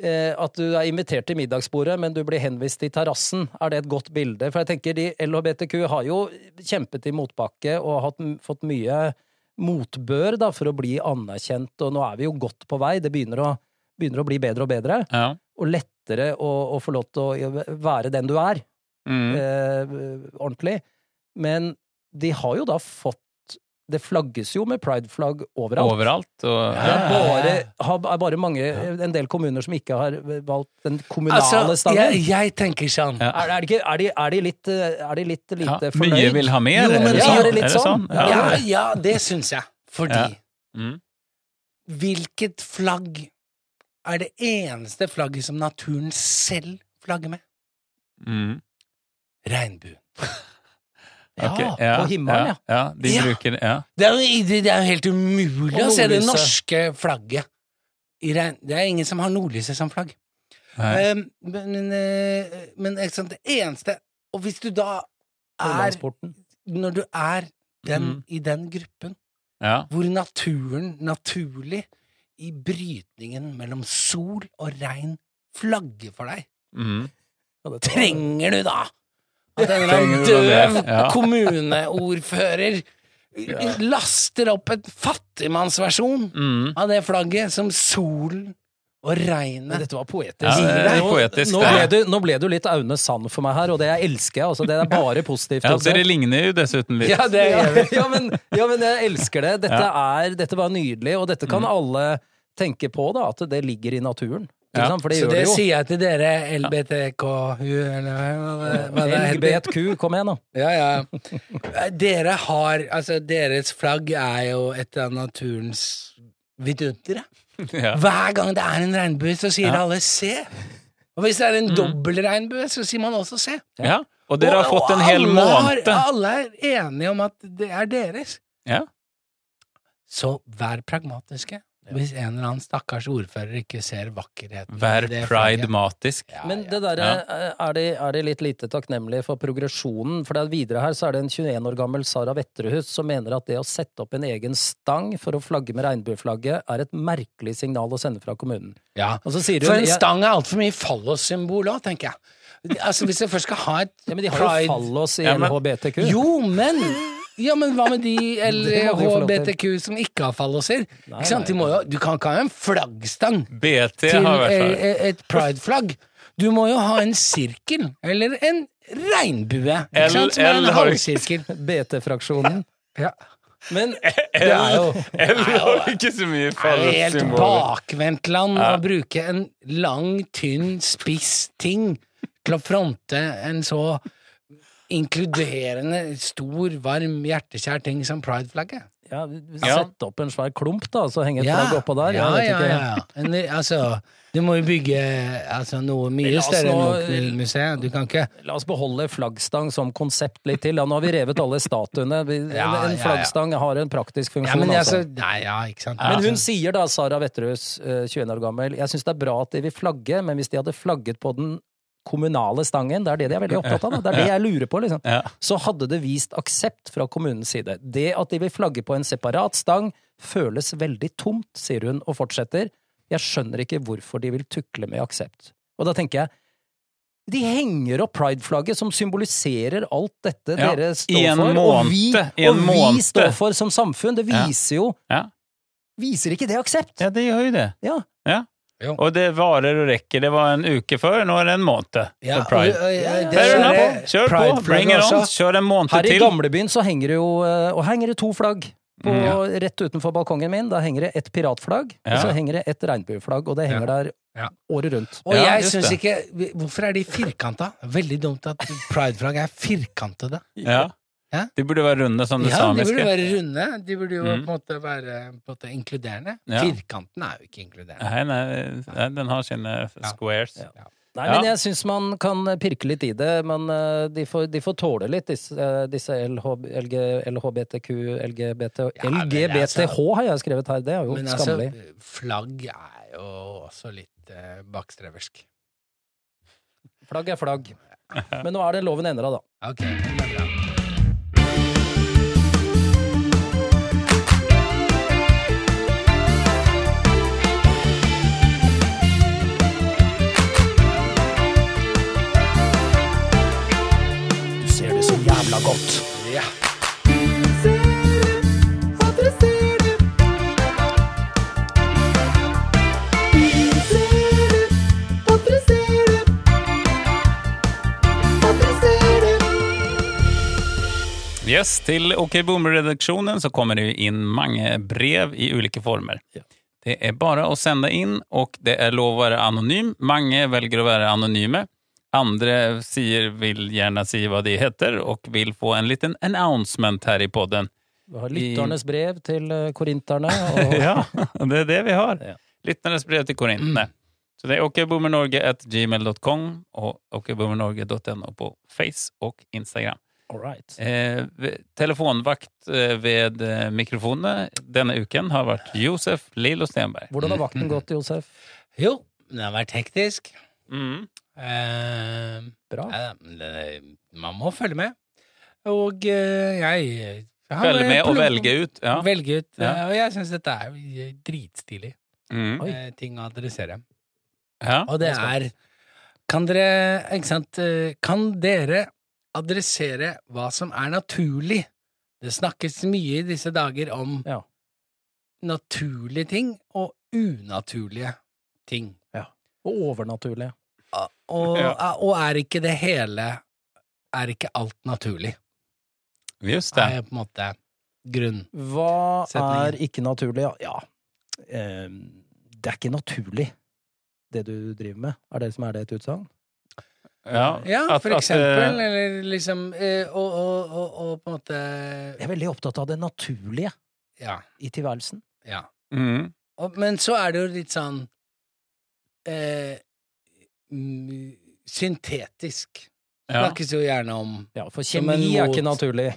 S3: eh, at du er invitert til middagsbordet, men du blir henvist til terrassen. Er det et godt bilde? For jeg tenker de LHBTQ har jo kjempet i motbakke og hatt, fått mye motbør da, for å bli anerkjent, og nå er vi jo godt på vei. Det begynner å, begynner å bli bedre og bedre.
S2: ja.
S3: Og lettere å, å få lov til å være den du er
S2: Mm.
S3: eh, ordentlig. Men de har jo da fått Det flagges jo med prideflagg overalt.
S2: Overallt. Och,
S3: Det er
S2: ja.
S3: bare, har- er bare mange, en del kommuner som ikke har valgt den kommunale
S1: Altså,
S3: standarden.
S1: jeg, jeg tenker sånn
S2: Ja.
S3: Er, er, det ikke, er, de, er de litt, eh, er de litt
S2: Ja.
S3: lite fornøyd?
S2: Mye vil ha mer,
S1: Jo, men
S2: är det
S1: ja,
S2: så?
S1: det är
S3: lite
S2: Är det
S3: sånn.
S2: så?
S1: Ja,
S2: Ja.
S1: ja det syns jeg. Fordi
S2: Ja. Mm.
S1: hvilket flagg er det eneste flagget som naturen selv flagger med?
S2: Mm.
S1: Regnbuen.
S3: Ja,
S2: Okej,
S3: på himmelen, ja.
S2: ja. De
S1: Ja.
S2: brukar, ja.
S1: Det er jo det er jo helt umulig
S3: Og
S1: å se det
S3: nordlyset.
S1: norske flagget. I regn. Det er ingen som har nordlyset som flagg.
S2: Nej.
S1: Um, men men, eh, men ikke sant, det eneste Og hvis du da er
S3: Nordlandsporten.
S1: Når du er den,
S2: Mm.
S1: i den gruppen
S2: Ja.
S1: hvor naturen naturlig, i brytningen mellom sol og regn, flagger for deg,
S2: Mm.
S3: Ja, det tror jeg.
S1: trenger du da at en eller annen
S2: Trenger du
S1: døv
S2: det? Ja.
S1: kommuneordfører laster opp en fattigmannsversjon
S2: Mm.
S1: av det flagget som solen og
S3: Men
S1: regnet
S3: Dette var poetisk.
S2: Ja, det är poetiskt.
S3: nå, ble
S2: det.
S3: du, nå ble du litt Aune Sand for meg her, og det jeg elsker jeg. Altså, det er bare positivt.
S2: Ja,
S3: å se.
S2: det ligner ju dessutom lite.
S3: Ja, det gjør vi. Ja, men, ja, men jeg elsker det. Dette, er, dette var nydelig, og dette
S1: Mm.
S3: kan alle tenke på, da, at det ligger i naturen. Ikke
S2: Ja,
S3: sant? For det
S1: Så det
S3: gjør det jo.
S1: sier jeg til dere LBTKU, eller hva- hva det er.
S3: LBTQ, kom igjen, nå.
S1: Ja, ja. Dere har Altså, deres flagg er jo et av naturens vidundere.
S2: Ja.
S1: Hver gang det er en regnbue, så sier alle 'se'. Og hvis det er en dobbel regnbue, så sier man også 'se'.
S2: Ja. Och Mm. dere har
S1: Og-
S2: fått en
S1: og
S2: hel
S1: alle
S2: månad.
S1: Har, alle er enige om at det er deres.
S2: Ja.
S1: Så vær pragmatiske. Hvis en eller annen stakkars ordfører ikke ser vakkerheten i
S2: Vær
S1: det flagget.
S2: pride-matisk.
S1: Ja,
S3: Men
S1: ja.
S3: det der, eh, er, de, er de litt lite takknemlige for progresjonen? For det er videre her så er det en 21 år gammel Sara Vetterhus som mener at det å sette opp en egen stang for å flagge med regnbueflagget, er et merkelig signal å sende fra kommunen.
S1: Ja.
S3: Og så sier hun
S1: For en
S3: jeg-
S1: stang er altfor mye fallossymbol òg, tenker jeg. Altså, Hvis jeg først skal ha et
S3: Ja, men de har jo fallos i
S2: Ja, men-
S3: LHBTQ.
S1: Jo, men Ja, men hva med de
S3: Det må de få lov til.
S1: LHBTQ som ikke har falloser? Ikke sant? De må jo, du kan ikke ha en flaggstang
S2: BT
S1: til
S2: har vært
S1: eh,
S2: her.
S1: eh, et prideflagg. Du må jo ha en sirkel, eller en regnbue, ikke
S2: L-
S1: sant? Som er
S2: L
S1: en
S2: har-
S1: halvsirkel.
S3: BT-fraksjonen.
S1: Ja.
S3: Men det er jo
S2: Eller har vi ikke så mye
S1: Det er jo helt
S2: fallosymboler?
S1: bakvendtland å bruke en lang, tynn, spiss ting til å fronte en så inkluderende, stor, varm, hjertekjær ting som prideflagget.
S3: Ja,
S2: Ja.
S3: Sett opp en svær klump, da, så henge et flagg oppå der.
S1: Ja,
S3: jeg
S1: ja,
S3: vet
S1: ja.
S3: ikke.
S1: En, altså, du må jo bygge altså, noe mye
S3: La oss
S1: større enn
S3: nå-
S1: Munch-museet. Du kan ikke
S3: La oss beholde flaggstang som konsept litt til. Da. Nå har vi revet alle statuene. Vi- En,
S1: Ja, ja,
S3: en
S1: ja.
S3: flaggstang har en praktisk funksjon.
S1: Ja, men altså
S3: altså.
S1: Nei, ja, altså. ikke sant.
S3: Men hun sier da, Sara Vetterhus, eh, 21 år gammel, jeg syns det er bra at de vil flagge, men hvis de hadde flagget på den kommunale stangen, det er det de er veldig opptatt av, da. det er det jeg lurer på, liksom,
S2: Ja.
S3: så hadde det vist aksept fra kommunens side. Det at de vil flagge på en separat stang føles veldig tomt, sier hun, og fortsetter. Jeg skjønner ikke hvorfor de vil tukle med aksept. Og da tenker jeg, de henger opp prideflagget som symboliserer alt dette
S2: Ja,
S3: dere står
S2: i en
S3: for, og vi,
S2: måned, i en
S3: og
S2: måned.
S3: vi står for som samfunn. Det
S2: Ja.
S3: viser jo
S2: Ja.
S3: Viser ikke det aksept?
S2: ja, det gjør jo det.
S3: Ja.
S2: Ja.
S1: Jo.
S2: Og det varer og rekker. Det var en uke før, nå er det en måned.
S1: Ja,
S2: for Pride.
S1: og- og- ja, det
S2: Fair
S1: er-
S2: enough. Kjør på.
S1: Pride-flagget
S2: Bring it on.
S1: også.
S2: Kjør en måned
S3: Her i
S2: til.
S3: gamlebyen så henger det jo eh, og henger det to flagg. På,
S2: Mm,
S3: Rett utenfor balkongen min da henger det et piratflagg,
S2: Ja.
S3: og så henger det et regnbueflagg, og det henger der
S1: Ja.
S3: året rundt.
S1: Og
S2: Ja,
S1: jeg
S2: just
S1: syns
S2: det.
S1: ikke Hvorfor er de firkanta? Veldig dumt at prideflagg er firkantede.
S2: Ja.
S1: Ja.
S2: De burde være runde som det
S1: Ja, de burde
S2: samiske.
S1: være runde. De burde jo
S2: Mm.
S1: på en måte være på en måte, inkluderende.
S2: Ja.
S1: Firkanten er jo ikke inkluderende.
S2: Nei, nei, nei, den har sine squares.
S3: Ja.
S1: Ja.
S3: Nei,
S2: Ja.
S3: men jeg syns man kan pirke litt i det, men eh, de får, de får tåle litt, disse, eh, disse LH, LG, LHBTQ, LGBT
S1: Ja, men altså-
S3: LGBTH har jeg skrevet her, det er jo
S1: Men altså,
S3: skammelig.
S1: flagg er jo også litt eh, bakstreversk.
S3: Flagg er flagg. Men nå er den loven endra, da.
S1: Ok, det er bra.
S3: Du ser det så jævla godt.
S1: Ja.
S2: Yes, til OK Boomer-redaksjonen så kommer det ju in mange brev i olika former.
S3: Ja.
S2: Det är bara att sända in och det är lov att vara anonym. Mange väljer att vara anonyme. Andra sier, vill gärna säga vad det heter och vill få en liten announcement här i podden.
S3: Vi har lytternes brev til eh, korinterne. Og,
S2: Ja, det är det vi har.
S3: Ja. Mm.
S2: Lyttarnas brev till Korintne. Så det är okboomernorge.gmail.com och okboomernorge.no på Face och Instagram.
S3: all right.
S2: Eh, v- telefonvakt eh, ved eh, mikrofonene denne uken har vært Josef Lillo Stenberg.
S3: Hvordan har vakten gått, Josef?
S1: Jo, den har vært hektisk.
S2: Mm.
S1: Eh,
S3: Bra.
S1: ja, men det- man må følge med. Og eh, jeg jeg har-
S2: Følge med og
S1: plukket-
S2: velge ut. Ja.
S1: Velge ut.
S2: Ja.
S1: eh, Og jeg syns dette er jo dritstilig
S2: Mm.
S3: Oi.
S1: eh, ting å adressere.
S2: Ja.
S1: Og det er Kan dere Ikke sant? eh, Kan dere adressere hva som er naturlig? Det snakkes mye i disse dager om
S3: Ja.
S1: naturlige ting og unaturlige ting.
S3: Og overnaturlig.
S1: Og, og,
S2: Ja.
S1: og er ikke det hele Er ikke alt naturlig?
S2: Just
S1: Det
S2: det.
S1: er på en måte grunn.
S3: Hva
S1: Setningen.
S3: er ikke naturlig? Ja, ja. Eh, Det er ikke naturlig, det du driver med. Er det som er det et utsagn?
S2: Ja,
S1: Ja,
S2: at-
S1: for
S2: at, eh,
S1: eksempel. Eller liksom eh, og, og, og, og på en måte
S3: Jeg er veldig opptatt av det naturlige
S1: Ja.
S3: i tilværelsen.
S1: ja.
S2: mm.
S1: Og, men så er det jo litt sånn eh, mm, Syntetisk.
S2: ja.
S1: Snakkes jo gjerne om
S3: Ja, for
S1: Som
S3: kjemi
S1: en
S3: er ikke
S1: mot-
S3: naturlig.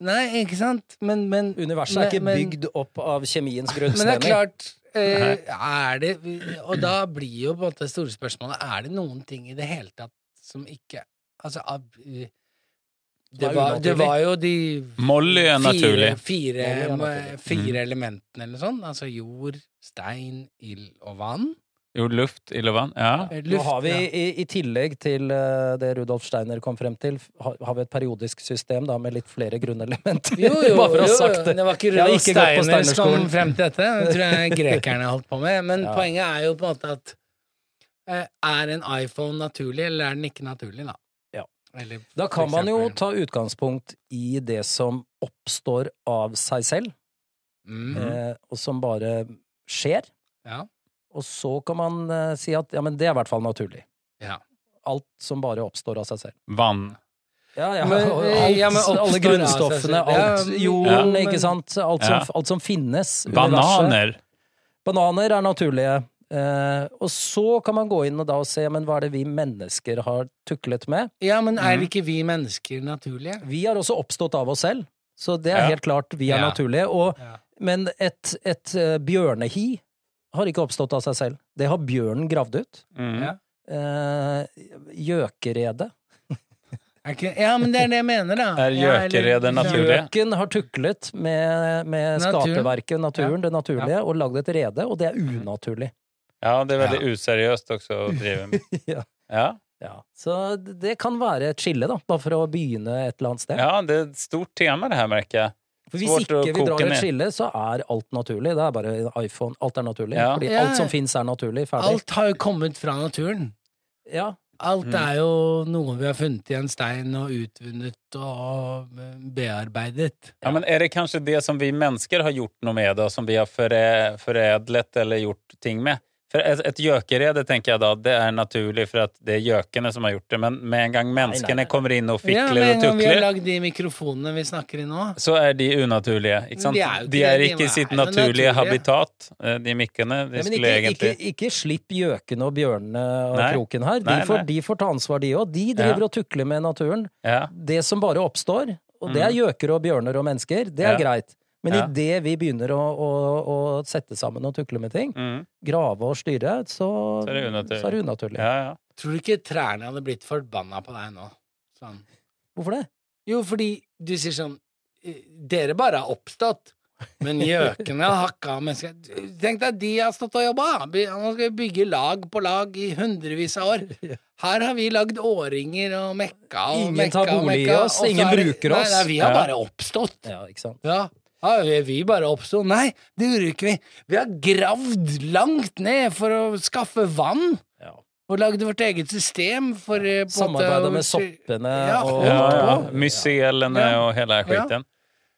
S1: Nei, ikke sant? Men, men,
S3: Universet er ikke
S1: Men- men-
S3: bygd opp av
S1: men
S3: kjemiens
S1: det er
S3: grunnstemmer.
S1: klart eh, Er det Og da blir jo på en måte det store spørsmålet Er det noen ting i det hele tatt som ikke Altså av, eh, det,
S3: er
S1: var, det
S3: unaturlig.
S1: var jo de
S2: Molly er naturlig. Mm.
S1: fire, fire,
S3: Molly er naturlig.
S1: fire elementene eller sånn. Altså jord, stein, ild og vann.
S2: Jo, luft, ild og vann. Ja.
S1: Eh,
S3: Nå har vi,
S1: ja.
S3: i, I tillegg til eh, det Rudolf Steiner kom frem til, har, har vi et periodisk system da, med litt flere grunnelementer.
S1: Jo, jo,
S3: Bare for å ha
S1: jo,
S3: sagt
S1: det.
S3: det.
S1: var ikke
S3: Jeg har
S1: Rudolf
S3: ikke gått på
S1: Steiner som kom
S3: Steinerskolen.
S1: frem til dette. Det tror jeg grekerne holdt på med. Men
S3: Ja.
S1: poenget er jo på en måte at eh, Er en iPhone naturlig, eller er den ikke naturlig, da?
S3: Ja.
S1: Eller,
S3: Da
S1: for
S3: kan man jo
S1: eksempel-
S3: ta utgangspunkt i det som oppstår av seg selv,
S1: mm,
S3: eh, og som bare skjer.
S1: Ja.
S3: Og så kan man eh, si at ja, men det er i hvert fall naturlig.
S1: Ja.
S3: Alt som bare oppstår av seg selv.
S2: Vann.
S3: Ja, ja,
S1: Men,
S3: og
S1: eh,
S3: alt,
S1: ja, men oppstår
S3: alle
S1: av seg
S3: grunnstoffene,
S1: selv.
S3: alt
S1: Ja, men-
S3: jorden,
S1: Ja, men-
S3: ikke sant? Alt som,
S2: Ja.
S3: alt som finnes. universet.
S2: Bananer.
S3: Bananer er naturlige. Eh, og så kan man gå inn og da og se men hva er det vi mennesker har tuklet med.
S1: ja, men
S2: Mm.
S1: er ikke vi mennesker naturlige?
S3: Vi har også oppstått av oss selv, så det er
S2: Ja.
S3: helt klart vi er
S1: Ja.
S3: naturlige. Og,
S1: Ja.
S3: Men et, et eh, bjørnehi har ikke oppstått av seg selv. Det har bjørnen gravd ut.
S2: Mm.
S1: Ja.
S3: Eh, Gjøkeredet.
S1: Er ikke, ja, men det er det jeg mener, da. Ja,
S2: Er
S1: eller-
S2: gjøkeredet naturlig?
S3: Gjøken har tuklet med, med
S1: Naturen.
S3: skaperverket, naturen, det naturlige, og lagd et rede, og det er unaturlig.
S2: Ja, det er veldig useriøst også å drive med.
S3: Ja.
S2: Ja,
S3: Ja. Så det kan være et skille, da, bare for å begynne et eller annet sted.
S2: ja det er et stort tema det her, merker jeg.
S3: For hvis
S2: Svårt å
S3: ikke vi
S2: koke
S3: drar et
S2: ned.
S3: skille, så er alt naturlig. Det er bare iPhone. Alt er naturlig.
S2: Ja.
S3: Fordi
S1: Ja.
S3: alt som fins, er naturlig. Ferdig.
S1: Alt har jo kommet fra naturen.
S3: Ja. Mm.
S1: Alt er jo noe vi har funnet i en stein og utvunnet og eh, bearbeidet.
S2: Ja, men är det kanske det som vi människor har gjort något med då, som vi har förä, förädlat eller gjort ting med? För ett, ett gökerede, tänker jag då, det är naturligt för att det är gökarna som har gjort det. Men med en gång
S3: nej,
S2: människorna
S3: nej.
S2: kommer in och
S1: Ja,
S2: ficklar
S1: med
S2: och
S1: en gang vi har
S2: tucklar,
S1: lagd de mikrofonene vi snakker i nå.
S2: så är de unaturliga. Ikke
S1: Men
S2: sant?
S1: det er jo ikke
S2: De är
S1: det, de
S2: inte i sitt
S1: er jo
S2: naturliga
S1: naturlige.
S2: habitat, eh, de mickarna.
S3: Ja,
S2: De
S3: men
S2: skulle
S3: ikke,
S2: egentligen...
S3: ikke, ikke slipp gjøkene og bjørnene av
S2: Nei.
S3: kroken her. De,
S2: Nei,
S3: får,
S2: nei.
S3: de får ta ansvar, de òg. De driver og tukler med naturen.
S2: Ja.
S3: Det som bare oppstår, og det er gjøker og bjørner og mennesker, det er
S2: Mm. Ja.
S3: greit. Men
S2: Ja.
S3: idet vi begynner å, å, å sette sammen og tukle med ting,
S2: Mm.
S3: grave og styre, så,
S2: Så er det unaturlig.
S3: så er det unaturlig.
S2: ja, ja.
S1: Tror du ikke trærne hadde blitt forbanna på deg nå? Sånn.
S3: Hvorfor det?
S1: Jo, fordi du sier sånn eh, Dere bare har oppstått. Men gjøkene har hakka av mennesker Tenk deg, de har stått og jobba! By- Nå skal vi bygge lag på lag i hundrevis av år. Her har vi lagd årringer og mekka og
S3: Ingen
S1: mekka
S3: tar
S1: og
S3: bolig i
S1: mekka,
S3: oss,
S1: og så
S3: ingen
S1: er det-
S3: bruker oss.
S1: Nei, nei, vi har
S2: Ja.
S1: bare oppstått.
S3: Ja, ikke sant?
S1: Ja. ja, vi- vi bare oppsto. Nei, det gjorde ikke vi. Vi har gravd langt ned for å skaffe vann.
S3: Ja.
S1: Og lagde vårt eget system for eh, på en måte
S3: Samarbeide
S1: å-
S3: med soppene
S1: Ja,
S3: og
S2: Ja, ja.
S1: på.
S2: Mycelene
S1: Ja.
S2: och hela
S1: Ja.
S2: skiten.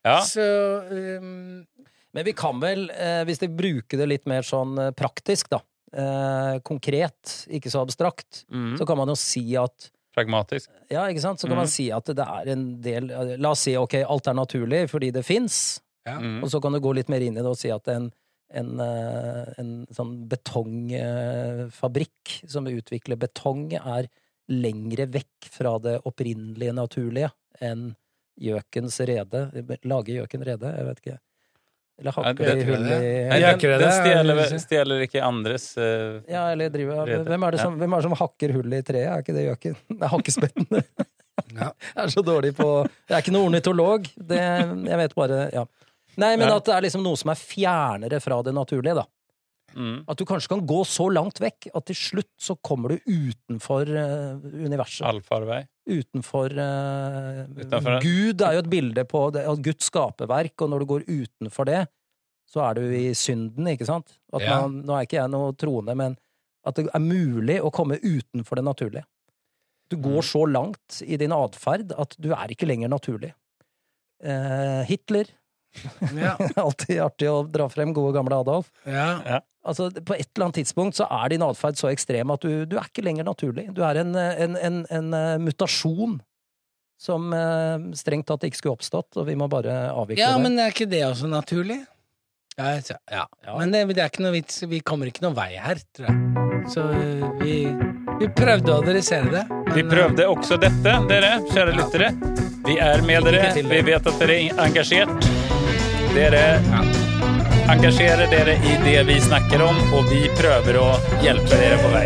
S2: Ja.
S1: Så ehm,
S3: Men vi kan vel, eh, hvis vi bruker det litt mer sånn eh, praktisk, da, eh, konkret, ikke så abstrakt,
S2: Mm.
S3: så kan man jo si at
S2: Pragmatisk.
S3: Ja, ikke sant? Så kan
S2: Mhm.
S3: man si at det er en del eh, La oss si ok, alt er naturlig fordi det fins,
S1: ja.
S2: Mm.
S3: og så kan du gå litt mer inn i det og si at en, en, eh, en sånn betongfabrikk som utvikler betong, er lengre vekk fra det opprinnelige naturlige enn gjøkens rede. Lage gjøken rede? Jeg vet ikke. Eller
S2: Ja,
S3: hakke
S2: det
S3: i
S1: tror jeg
S3: hull i
S1: det.
S2: Nej,
S1: Ja,
S2: den,
S1: Gökare,
S2: den
S1: det är-
S2: stjäler, stjäler icke andres... eh,
S3: Ja, eller driver
S2: Rede.
S3: Hvem er det som, hvem er det som hakker hull i treet? Er ikke det gjøken? Det er hakkespetten. Jeg er så dårlig på Jeg er ikke noen ornitolog. Det, jeg vet bare Ja. Nei, men
S2: Ja.
S3: at det er liksom noe som er fjernere fra det naturlige, da.
S2: Mm.
S3: At du kanskje kan gå så langt vekk at til slutt så kommer du utenfor eh, universet.
S2: Allfarvei.
S3: Utenfor eh,
S2: Utenfor-
S3: Gud er jo et bilde på det, at Guds skaperverk, og når du går utenfor det, så er du i synden, ikke sant? At
S1: Ja.
S3: man, nå er ikke jeg noe troende, men at det er mulig å komme utenfor det naturlige. Du går så langt i din atferd at du er ikke lenger naturlig. Eh, Hitler
S1: ja.
S3: Alltid artig å dra frem gode, gamle Adolf.
S1: ja.
S3: Altså, på et eller annet tidspunkt så er din atferd så ekstrem at du, du er ikke lenger naturlig. Du er en, eh, en, en, en eh, mutasjon som eh, strengt tatt ikke skulle oppstått, og vi må bare avvikle
S1: Ja,
S3: det.
S1: men er ikke det også naturlig? Ja, jeg sa- ja. Men det, det er ikke noe vits. Vi kommer ikke noen vei her, tror jeg. Så eh, vi, vi prøvde å adressere det. men,
S2: Vi
S1: eh,
S2: prøvde også dette, dere, kjære lyttere. Vi er med dere.
S3: Lykke til,
S2: Vi
S3: dere.
S2: vet at dere er engasjert. Dere engasjerer dere i det vi snakker om, og vi prøver å hjelpe dere på vei.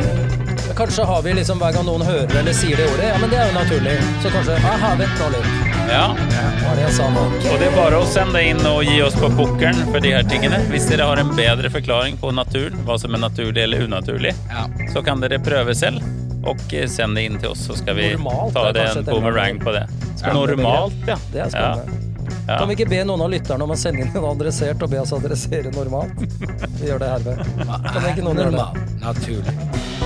S3: Kanskje har vi liksom hver gang noen hører eller sier det ordet, ja, men det er jo naturlig. Så kanskje Aha, vent nå litt.
S2: Ja,
S3: Hva er det jeg sa nå?
S2: Og det er bare å sende inn og gi oss på pukkelen for de her tingene. Hvis dere har en bedre forklaring på natur, hva som er naturlig eller unaturlig,
S1: Ja.
S2: så kan dere prøve selv. Og eh, send det inn til oss, så skal vi
S3: Normalt
S2: ta
S3: er
S2: det
S3: kanskje
S2: en
S3: et
S2: boomerang
S3: emne.
S2: på det.
S3: Spennende
S2: Normalt, ja.
S3: Det er spennende.
S2: Ja.
S3: Kan vi ikke be noen av lytterne om å sende inn en adressert og be oss adressere normalt? Vi gjør det herved.
S1: Hva
S3: Kan
S1: er
S3: ikke noen gjøre det?
S1: normal? Naturlig.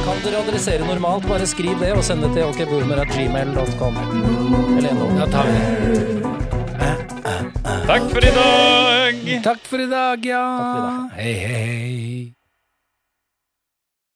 S3: Kan dere adressere normalt, bare skriv det og send det til okboomer.gmail.com. Eller no.
S1: Da tar vi det.
S2: Takk for i dag!
S1: Takk for i dag, ja.
S3: for i dag.
S1: Hei, hei, hei.